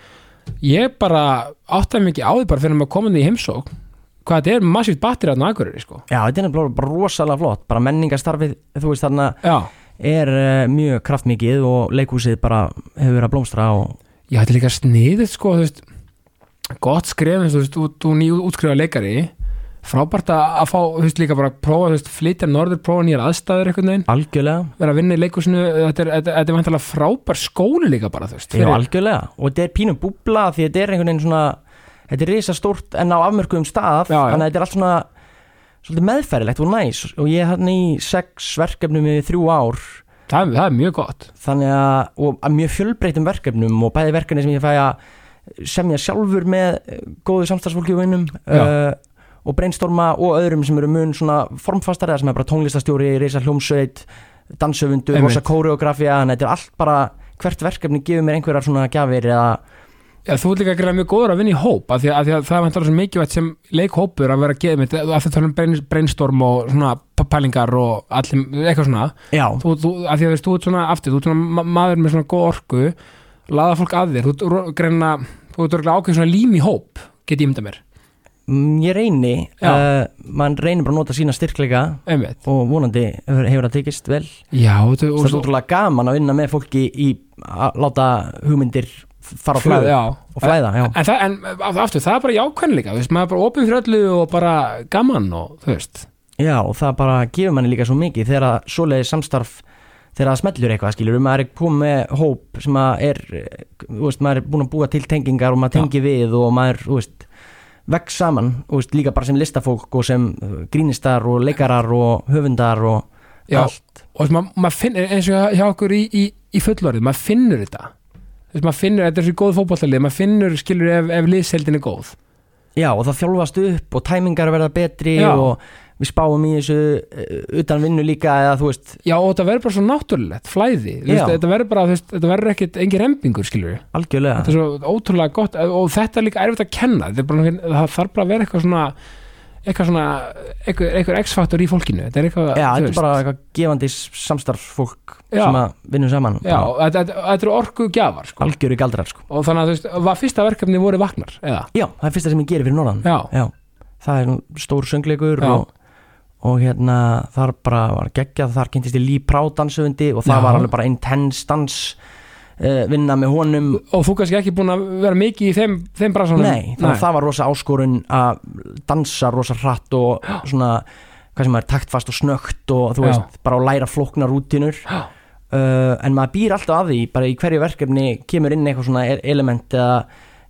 Speaker 1: ég bara áttaði mikið á því bara fyrir að maður komandi í heimsók hvað þetta er massíft batteri hérna á Akureyri sko
Speaker 2: já þetta er nefnilega bara rosalega flott bara menningastarfið þú veist þarna
Speaker 1: já,
Speaker 2: er uh, mjög kraftmikið og leikúsið bara hefur verið að blómstra og
Speaker 1: já þetta er líka sniðið sko þú veist, gott skrifin þú veist, út, þú ný útskrifa leikari frábært að að fá, þú veist, líka bara að prófa, þú veist, flytja norður, prófa nýjar aðstæður einhvern veginn,
Speaker 2: algjörlega
Speaker 1: vera að vinna í leikusinu þetta er, þetta, þetta er vantilega frábær skóli líka bara, þú veist,
Speaker 2: Já, algjörlega, og þetta er pínu búbla því þetta er einhvern veginn svona þetta er risastórt en á afmörkuðum stað
Speaker 1: Já, já.
Speaker 2: þannig að þetta er allt svona svolítið meðferðilegt og næs og ég er hann í sex verkefnum í þrjú ár
Speaker 1: það, er- það er mjög gott
Speaker 2: þannig að, og að mjög fjölbreytum verkefnum og bæði verkefni sem ég fæ að semja sjálfur með eh, góðu samstagsfólki og vinnum uh,
Speaker 1: Já.
Speaker 2: og brainstorma og öðrum sem eru mun svona formfastar eða sem er bara tónlistastjóri, reysa hljómsveit dansöfundu,
Speaker 1: Einmitt.
Speaker 2: rosa kóreografía þannig að þetta er allt bara, hvert verkefni gefur mér einhverjar svona gjafir eða
Speaker 1: Já, þú ert líka að gera mjög góður að vinna í hóp af því að, af því að það er vantilega svo mikilvægt sem leikhópur að vera að geða mitt, að það tala um brain- brainstorm og svona p- pælingar og allir, eitthvað svona
Speaker 2: Já,
Speaker 1: þú, þú, að því að þú veist, þú ert svona aftur, þú ert svona ma- maður með svona góð orku laða fólk að þér, þú ert ro- greina þú ert örgulega ákveð svona lím í hóp get ég mynda mér,
Speaker 2: Mm, Ég reyni,
Speaker 1: Já.
Speaker 2: uh, mann reynir bara að nota sína styrkleika
Speaker 1: einmitt
Speaker 2: og vonandi hefur, hefur það tekist vel
Speaker 1: Já, þú,
Speaker 2: Það er útrúlega gaman að vinna með fólki í að láta hugmyndir fara á
Speaker 1: flæð,
Speaker 2: flöðu
Speaker 1: já
Speaker 2: og flæða já.
Speaker 1: En, það, en aftur, það er bara jákvæðan líka, þú veist, maður er bara opið fyrir öllu og bara gaman og, þú veist
Speaker 2: já, og það bara gefur manni líka svo mikið þegar að svoleiði samstarf þegar það smellur eitthvað, skilur, maður er komið með hóp sem að er, eh, þú veist, maður er búin að búa til tengingar og
Speaker 1: Já.
Speaker 2: maður tengi við og maður, þú veist, vex saman þú veist, líka bara sem listafólk og sem eh, grínistar og leikarar og höfundar og
Speaker 1: Já,
Speaker 2: allt
Speaker 1: og sem maður mað finnur, eins og hjá okkur í, í, í fullorðið, maður finnur þetta þú veist, maður finnur, þetta er svo góð fótbollalið maður finnur, skilur, ef, ef liðseldin er góð
Speaker 2: Já og það þjálfast upp og tæmingar verða betri
Speaker 1: Já.
Speaker 2: og við spáum í þessu eh, utan vinnu líka eða þú veist
Speaker 1: Já, og þetta verður bara svo náttúrulegt, flæði Þú veist,
Speaker 2: Já.
Speaker 1: þetta verður bara, þú veist, þetta verður ekkit engin rembingur, skilur
Speaker 2: algjörlega
Speaker 1: þetta er svo ótrúlega gott eh, og þetta er líka erfitt að kenna Þetta er bara, það þarf bara að vera eitthvað svona eitthvað svona, eitthvað, eitthvað x-faktor í fólkinu þetta er eitthvað,
Speaker 2: Já
Speaker 1: þú
Speaker 2: þetta
Speaker 1: veist.
Speaker 2: er bara eitthvað gefandi s- samstarfsfólk
Speaker 1: Já.
Speaker 2: sem að vinnum saman
Speaker 1: Já, þetta, þetta, þetta eru orku gjafar sko.
Speaker 2: Algjöru galdrar sko
Speaker 1: og þannig að þú veist, var fyrsta verkefni voru vaknar eða,
Speaker 2: Já það er fyrsta sem ég geri fyrir norðan
Speaker 1: já,
Speaker 2: Það er nú stór söngleikur
Speaker 1: Já.
Speaker 2: og, og hérna þar bara var geggjað þar kynntist ég Lý Prá dansufundi og það
Speaker 1: Já.
Speaker 2: var alveg bara intense dans uh, vinna með honum
Speaker 1: og þú kannski ekki búin að vera mikið í þeim, þeim bransanum
Speaker 2: Nei, þannig að það var rosa áskorun að dansa rosa hratt og svona, hvað sem er taktfast og snögt og þú
Speaker 1: Já.
Speaker 2: veist, bara að læra flóknar rútinur uh,
Speaker 1: Já.
Speaker 2: en maður býr alltaf að því, bara í hverju verkefni kemur inn eitthvað svona e- element eða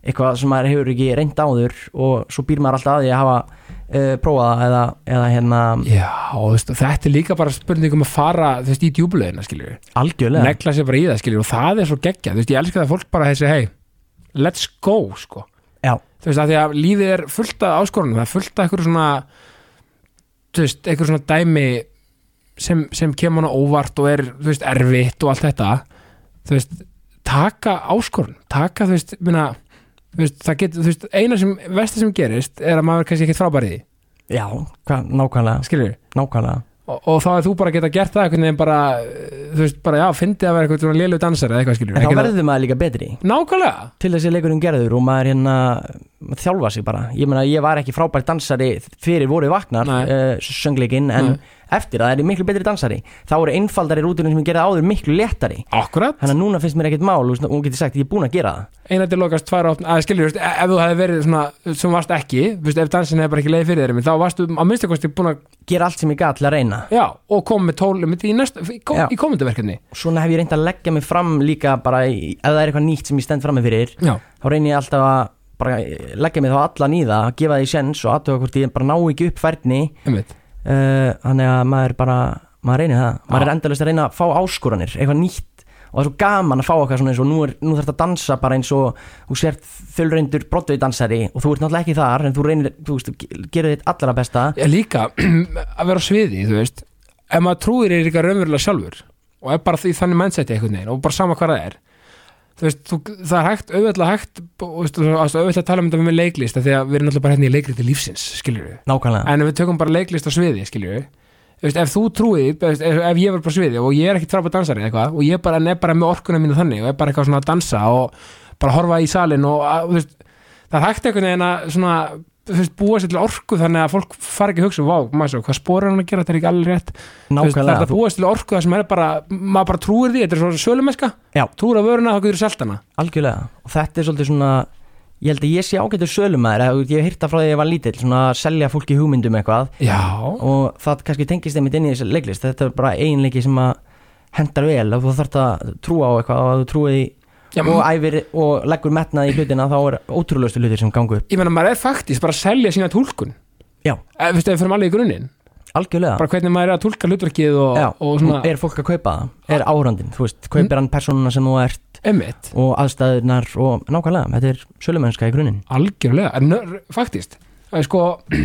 Speaker 2: eitthvað sem maður hefur ekki reynd áður og svo býr maður alltaf að því að hafa uh, prófað það eða, eða hérna
Speaker 1: Já, og þú veist, og þetta er líka bara spurning um að fara, þú veist, í djúbulegina, skilju
Speaker 2: algjörlega
Speaker 1: negla sér bara í það, skilju, og það er svo geggja þú veist, ég elska það að fólk bara þessi, hei let's go, sko,
Speaker 2: Já,
Speaker 1: þú veist, að því að lífið er fullt af áskorunum, það er fullt af einhverju svona þú veist, einhverju svona dæmi sem, sem kemur hana óvart og er, þú veist, erfitt og allt þetta þú veist, taka áskorun taka, þú veist, minna þú veist, það getur, þú veist, eina sem vesti sem gerist er að maður er kannski ekkert frábærið
Speaker 2: já, hvað, nákvæmlega,
Speaker 1: skilju,
Speaker 2: nákvæmlega
Speaker 1: og, og þá er þú bara að geta gert það einhvern veginn bara, eh, þú veist, bara já, fyndið að vera eitthvað svona lélu dansari eða eitthvað skilju
Speaker 2: En þá verður maður líka betri
Speaker 1: Nákvæmlega,
Speaker 2: til þessi leikurinn gerður og maður hérna maður þjálfa sig bara, ég meina ég var ekki frábær dansari fyrir voru vaknar
Speaker 1: Nei.
Speaker 2: uh, söngleikinn en
Speaker 1: Nei.
Speaker 2: eftir það er ég miklu betri dansari þá eru einfaldari rútunum sem ég gerði áður miklu léttari
Speaker 1: akkurat
Speaker 2: þannig að núna finnst mér ekkert mál og svona- og getur sagt ég er búin að gera það
Speaker 1: eina til lokast tvær opn að skilur, veist, e- ef þú hefði verið svona sem varst ekki, veist, ef dansin hefði bara ekki leið fyrir þér þá varstu á minnstakosti búin að
Speaker 2: gera allt sem ég gat til að reyna
Speaker 1: já, og kom með tólum í, næsta, í, kom,
Speaker 2: Já.
Speaker 1: í komandi verkefni
Speaker 2: og svona hef ég reynd að leggja mig fram líka bara í, ef það er eitthvað nýtt sem ég stend fram með fyrir
Speaker 1: já,
Speaker 2: þá reynir ég alltaf að bara eh, leggja mig þá allan í það, gefa því sens og aðtöga hvort ég bara ná ekki upp færni
Speaker 1: einmitt
Speaker 2: Eh, þannig að maður bara maður reynir það, maður
Speaker 1: Já.
Speaker 2: er endalist að reyna að fá áskoranir eitthvað nýtt og það er svo gaman að fá okkar svona eins og nú, er, nú þarf þetta að dansa bara eins og þú sért þölreindur brottvið dansari og þú ert náttúrulega ekki þar en þú reynir, þú veist, þú gerir þitt allra besta
Speaker 1: Já, líka að vera á sviði, þú veist ef maður trúir er eitthvað raunverulega sjálfur og er bara því þannig mindseti einhvern veginn og bara sama hvað það er þú veist, þú, það er hægt, auðvitað hægt og veist, þú- þú- auðvitað að tala um þetta með leiklist af því að við erum náttúrulega bara hérna í leikriti lífsins skiljur við,
Speaker 2: nákvæmlega,
Speaker 1: en ef við tökum bara leiklist á sviði skiljur við, þú veist, ef þú trúið þú veist, ef, ef ég verður bara á sviði og ég er ekki frábæð dansari eða eitthvað og ég bara, en er bara með orkuna mínu þannig og er bara eitthvað svona að dansa og bara horfa í salin og að, þú veist, það er hægt einhvern veginn að svona þú veist, búa sér til orku þannig að fólk fari ekki að hugsa, vá, maður svo, hvað spóra hann að gera þetta er ekki alveg rétt, Þú veist, það er
Speaker 2: nákvæmlega
Speaker 1: að búast til orku það sem er bara, maður bara trúir því þetta er svona sölumeska,
Speaker 2: Já.
Speaker 1: trúir að vöruna þá getur selt hana
Speaker 2: algjörlega og þetta er svolítið svona ég held að ég sé ágættur sölumæður eða, þú veist, ég hef hýrta frá því að ég var lítill svona að selja fólki hugmyndum eitthvað
Speaker 1: já,
Speaker 2: og það kannski tengist einmitt inn í þessi leiklist þetta er bara eiginleiki sem að hendar vel að þú þarft að trúa á eitthvað og að þú trúið í
Speaker 1: já
Speaker 2: og æfir og leggur metnað í hlutina þá er ótrúlustu hlutir sem gangu upp
Speaker 1: ég meina maður er faktist bara að selja sína tólkun
Speaker 2: Já.
Speaker 1: Ef, veistu, ef við fyrir alveg í grunninn,
Speaker 2: algjörlega
Speaker 1: bara hvernig maður er að tólka hlutverkið og,
Speaker 2: Já,
Speaker 1: og svona, Ah. Mm.
Speaker 2: er fólk að kaupa það er áhrandin, þú veist, kaupir hann personuna sem þú ert
Speaker 1: emmitt
Speaker 2: og aðstæðunar og nákvæmlega, þetta er sölumennska í grunninn
Speaker 1: algjörlega, en nör, faktist það er sko,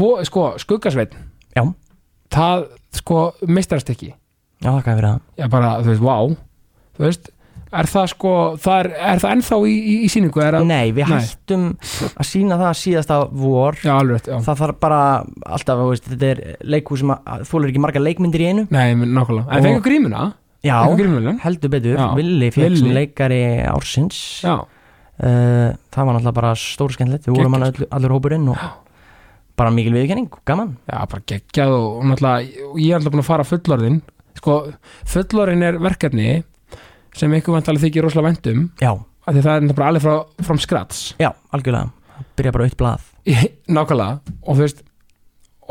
Speaker 1: vo, sko skuggasveit,
Speaker 2: já,
Speaker 1: það sko meistarast ekki
Speaker 2: já, þakka fyrir það
Speaker 1: já bara, þú veist, vá þú veist, er það sko það er, er það ennþá í, í, í síningu er að,
Speaker 2: nei, við
Speaker 1: Nei.
Speaker 2: hættum að sína það síðasta vor
Speaker 1: já, alveg, rétt, já
Speaker 2: það þarf bara alltaf, þú veist, þetta er leikhús sem að þúlur ekki marga leikmyndir í einu
Speaker 1: Nei, men- nákvæmlega. En
Speaker 2: Og-
Speaker 1: fengur grímuna?
Speaker 2: já,
Speaker 1: Fengur grímuna?
Speaker 2: heldur betur,
Speaker 1: Já.
Speaker 2: Willi fekk sem
Speaker 1: Villi.
Speaker 2: leikari ársins
Speaker 1: Já,
Speaker 2: uh, það var náttúrulega bara stór skemmtilegt við vorum hann all,
Speaker 1: sko.
Speaker 2: allur hópurinn og bara mikil viðurkenning, gaman
Speaker 1: já, bara geggjað og og náttúrulega, og ég er alltaf búin að fara fullorðin. Sko, fullorðin er verkefni sem ykkur vantalega þykir rosalega um. væntum
Speaker 2: já,
Speaker 1: af því það er náttúrulega alveg frá from scratch.
Speaker 2: já, algjörlega, Það byrja bara aukt blað
Speaker 1: Ég- Nákvæmlega. Og þú veist,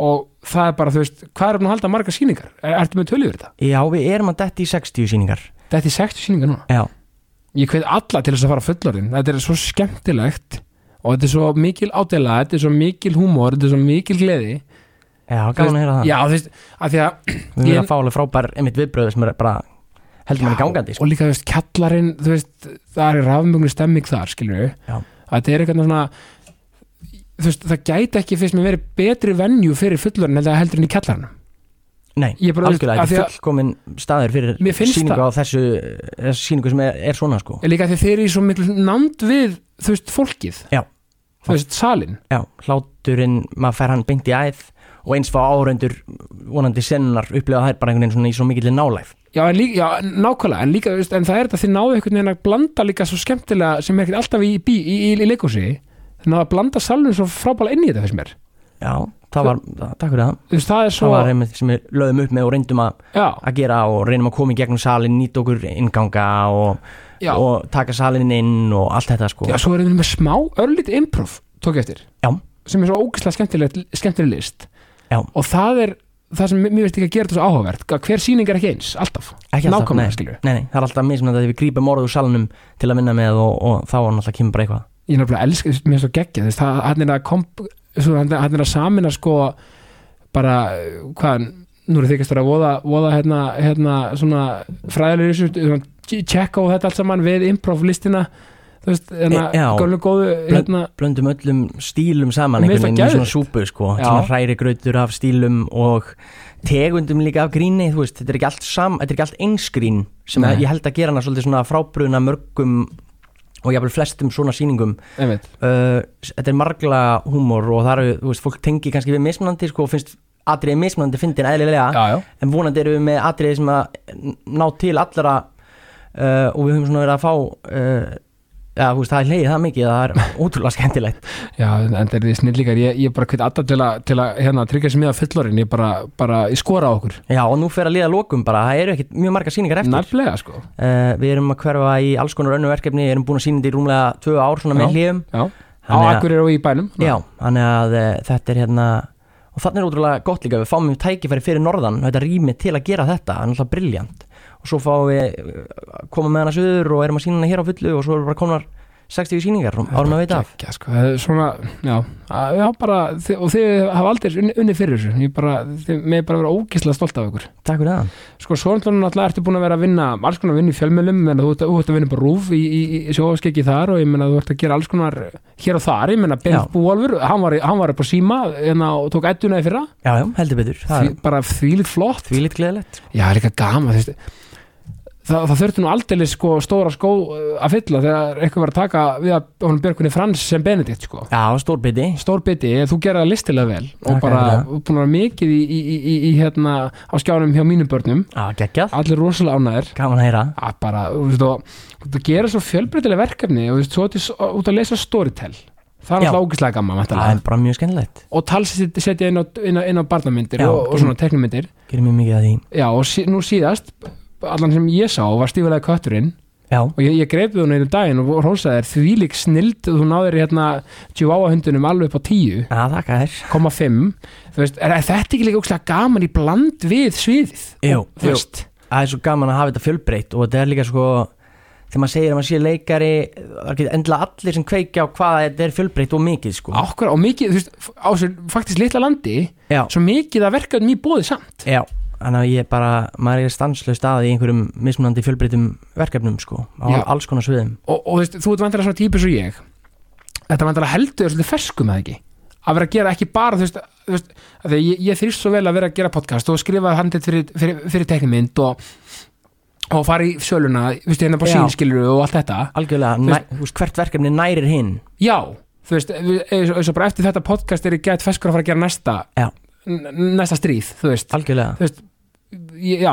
Speaker 1: og það er bara, þú veist, hvað er búin að halda marga sýningar? Er, ertu með tölu yfir þetta?
Speaker 2: já, við erum að detti í 60 síningar
Speaker 1: Þetta er 60 sýningar núna.
Speaker 2: já,
Speaker 1: Ég hveit alla til þess að fara fullorðin. Þetta er svo skemmtilegt og þetta er svo mikil ádela, þetta er svo mikil húmor, þetta er svo mikil gleði.
Speaker 2: já, gaman að heyra það
Speaker 1: Já, þú veist, af því að
Speaker 2: við
Speaker 1: ég-
Speaker 2: erum að fá alveg frábær einmitt viðbröðu sem er bara heldur manni
Speaker 1: Já,
Speaker 2: gangandi sko.
Speaker 1: og líka þú veist kjallarinn þú veist, það er rafmögnu stemming þar skilur
Speaker 2: Já.
Speaker 1: við þetta er eitthvað svona þú veist, það gæti ekki fyrst með verið betri venju fyrir fullorinn heldur, heldur en í kjallarinn
Speaker 2: nei,
Speaker 1: ég bara, þú veist,
Speaker 2: algjörlega,
Speaker 1: af því
Speaker 2: þetta
Speaker 1: að-
Speaker 2: er fullkomin staður
Speaker 1: Mér
Speaker 2: fyrir
Speaker 1: finnst
Speaker 2: síningu á þessu, þessu síningu sem er, er svona sko.
Speaker 1: líka af því að þeir eru í svo miklu nánd við þú veist fólkið
Speaker 2: Já.
Speaker 1: þú veist salin
Speaker 2: já, hláturinn, maður fær hann beint í æð og eins fá áhraundur vonandi sennar upplifa þær bara einhvern veginn svona í svo mikill nálæð
Speaker 1: já, en líka, já, en nákvæmlega, en líka þú veist, en það er þetta þið náðu einhvern veginn að blanda líka svo skemmtilega sem er ekkert alltaf í, í, í, í, í leikúsi þannig að blanda salin svo frábæla inn í þetta fyrst mér
Speaker 2: Já, það var, það- takk fyrir það
Speaker 1: þú veist, það er svo
Speaker 2: Það var einmitt sem við lögðum upp með og reyndum að,
Speaker 1: já,
Speaker 2: að gera og reynum að koma í gegnum salin, nýta okkur inganga og,
Speaker 1: já,
Speaker 2: og taka salin inn og allt þetta sko
Speaker 1: Já, svo erum við með smá örlítið improv, tók ég eftir
Speaker 2: Já.
Speaker 1: sem er svo ógeðslega skemmtileg, skemmtileg list
Speaker 2: Já.
Speaker 1: og það er það sem mér veist ekki að gera þetta svo áhugavert að hver sýning er ekki eins, alltaf
Speaker 2: Ekki alltaf,
Speaker 1: nákvæmlega skilju
Speaker 2: nei, nei, það er alltaf mismunandi að við grípum orðið úr salinum til að vinna með og, og þá er náttúrulega kemur bara eitthvað
Speaker 1: ég er nefnilega elska, mér er svo geggja þess, það, hann, er að komp, svo, hann, hann er að samina sko bara, eh, hvað, nú er þykist að voða, voða hérna, hérna svona fræðilegur tjekka á þetta allt saman við improv listina þú veist, hérna,
Speaker 2: E- já.
Speaker 1: gönnlega góðu hérna,
Speaker 2: blöndum öllum stílum saman
Speaker 1: Mér finnst það
Speaker 2: einhvern veginn í svona
Speaker 1: geðveikt.
Speaker 2: súpu sko,
Speaker 1: Já.
Speaker 2: svona hræri grautur af stílum og tegundum líka af gríni þú veist, þetta er ekki allt, sam, þetta er ekki allt einsgrín sem
Speaker 1: Nei.
Speaker 2: að, ég held að gera hana svolítið svona frábruna mörgum og jafnvel flestum svona sýningum
Speaker 1: einmitt
Speaker 2: uh, s- þetta er margla húmor og það eru, þú veist, fólk tengi kannski við mismunandi sko, og finnst atriði mismunandi fyndin eðlilega
Speaker 1: já, já.
Speaker 2: en vonandi erum við með atriði sem að ná til allra uh, og við höfum svona verið að fá uh, já, þú veist, það er leiðið það mikið það er ótrúlega skemmtilegt
Speaker 1: Já, en en þeir eru snillíkar, ég, ég bara hvet alla til að, til að hérna, tryggja sem ég að fullorinn, ég bara, bara ég skora á okkur,
Speaker 2: já, og nú fer að liða lokum bara, það eru ekkit mjög marga síningar eftir uh,
Speaker 1: nærlega sko
Speaker 2: við erum að hverfa í alls konar önnu verkefni við erum búin að sína þetta í rúmlega tvö ár svona
Speaker 1: Já.
Speaker 2: með hliðum
Speaker 1: Já, á
Speaker 2: Þannig að-
Speaker 1: Akureyri og í bænum
Speaker 2: já, þannig að uh, þetta er hérna og þannig er ótrúlega gott líka, við fáum mjög tækifæri fyrir norðan, þetta rými til að gera þetta það er náttúrulega eh, briljant og svo fáum við uh, koma með hana söður og erum að sína hana hér á fullu og svo erum við bara komnar 60 sýningar árum að veita af
Speaker 1: Gekkja, sko. Það er svona, já, að- já bara, þi- og þið hafa aldrei unni, unni fyrir þessu ég bara, þið með bara vera ógislega stolt af ykkur
Speaker 2: Takk fyrir það
Speaker 1: sko, svo náttúrulega ertu búin að vera að vinna alls konar vinna í fjölmjölum, menn þú ert að, þú ert að vinna bara rúf í, í, í sjófaskeki þar og ég menna þú ert að gera alls konar hér og þar, ég menna Bengt
Speaker 2: Já.
Speaker 1: Búalfur, hann var, í- hann var upp á síma hérna, og tók ettuna í fyrra
Speaker 2: Já, já, heldur betur Það
Speaker 1: því,
Speaker 2: er
Speaker 1: bara þvílið flott
Speaker 2: því litt gleðilegt
Speaker 1: Já, líka gaman þú veist. Það, það þurfti nú aldrei sko, stóra skó uh, að fylla þegar eitthvað var að taka við að honum Björkunni Frans sem Benedikt sko.
Speaker 2: Já, stór biti
Speaker 1: Stór biti, eh, þú gerði það listilega vel og
Speaker 2: Takk
Speaker 1: bara
Speaker 2: fyrir það.
Speaker 1: og búin að vera mikið í, í, í, í hérna, á skjánum hjá mínum börnum
Speaker 2: Já, geggjað
Speaker 1: allir rosalega ánæðir
Speaker 2: Gaman að heyra
Speaker 1: að bara, þú veist, og, þú gera svo fjölbreytilega verkefni og þú veist, svo ertu s- út að lesa storytell það er
Speaker 2: Já.
Speaker 1: alltaf ógislega gaman
Speaker 2: Það
Speaker 1: væntanlega.
Speaker 2: er bara mjög skemmilegt
Speaker 1: og talsetja setja inn á, inn á, inn á barnamyndir
Speaker 2: Já,
Speaker 1: og, og
Speaker 2: kemur-
Speaker 1: svona teknumyndir
Speaker 2: Gerir mjög mikið að því
Speaker 1: já, og sí, nú síðast allan sem ég sá var stífulega kötturinn
Speaker 2: Já,
Speaker 1: og ég, ég greipið hún einu daginn og hrósaði þér þvílík snild þú náðir hérna tjúváahundunum alveg upp á 10,5
Speaker 2: að þakka þér
Speaker 1: þú veist, er, er þetta ekki líka ógislega gaman í bland við sviðið
Speaker 2: Jú,
Speaker 1: Og, þú
Speaker 2: jú.
Speaker 1: veist,
Speaker 2: það er svo gaman að hafa þetta fjölbreytt og þetta er líka sko þegar maður segir að maður sé leikari það getur endilega allir sem kveikja á hvað þetta er fjölbreytt og mikið sko
Speaker 1: ákværa og mikið, þú veist, á sér faktisk litla landi
Speaker 2: já,
Speaker 1: svo mikið að verka um í bóði samt
Speaker 2: já, þannig að ég bara maður er stanslaust að í einhverjum mismunandi fjölbreyttum verkefnum sko á
Speaker 1: Já.
Speaker 2: alls konar sviðum
Speaker 1: og, og þú veist, þú ert vantilega svona típus og ég þetta vantilega heldur þér svolítið ferskum eða ekki að vera að gera ekki bara þú veist, þú veist að því ég, ég þrýst svo vel að vera að gera podcast og skrifa handið fyrir, fyrir, fyrir teknimynd og, og fara í söluna þú veist, hérna bara
Speaker 2: Já.
Speaker 1: sínskilur og allt þetta
Speaker 2: algjörlega,
Speaker 1: Þú
Speaker 2: næ,
Speaker 1: veist-
Speaker 2: þú veist hvert verkefni nærir hinn
Speaker 1: já, þú veist, við- eins og- eins og bara eftir þetta podcast er ég gett ferskur að fara að gera næsta
Speaker 2: Já.
Speaker 1: n- næsta stríð, þú veist
Speaker 2: algjörlega,
Speaker 1: Ég- já,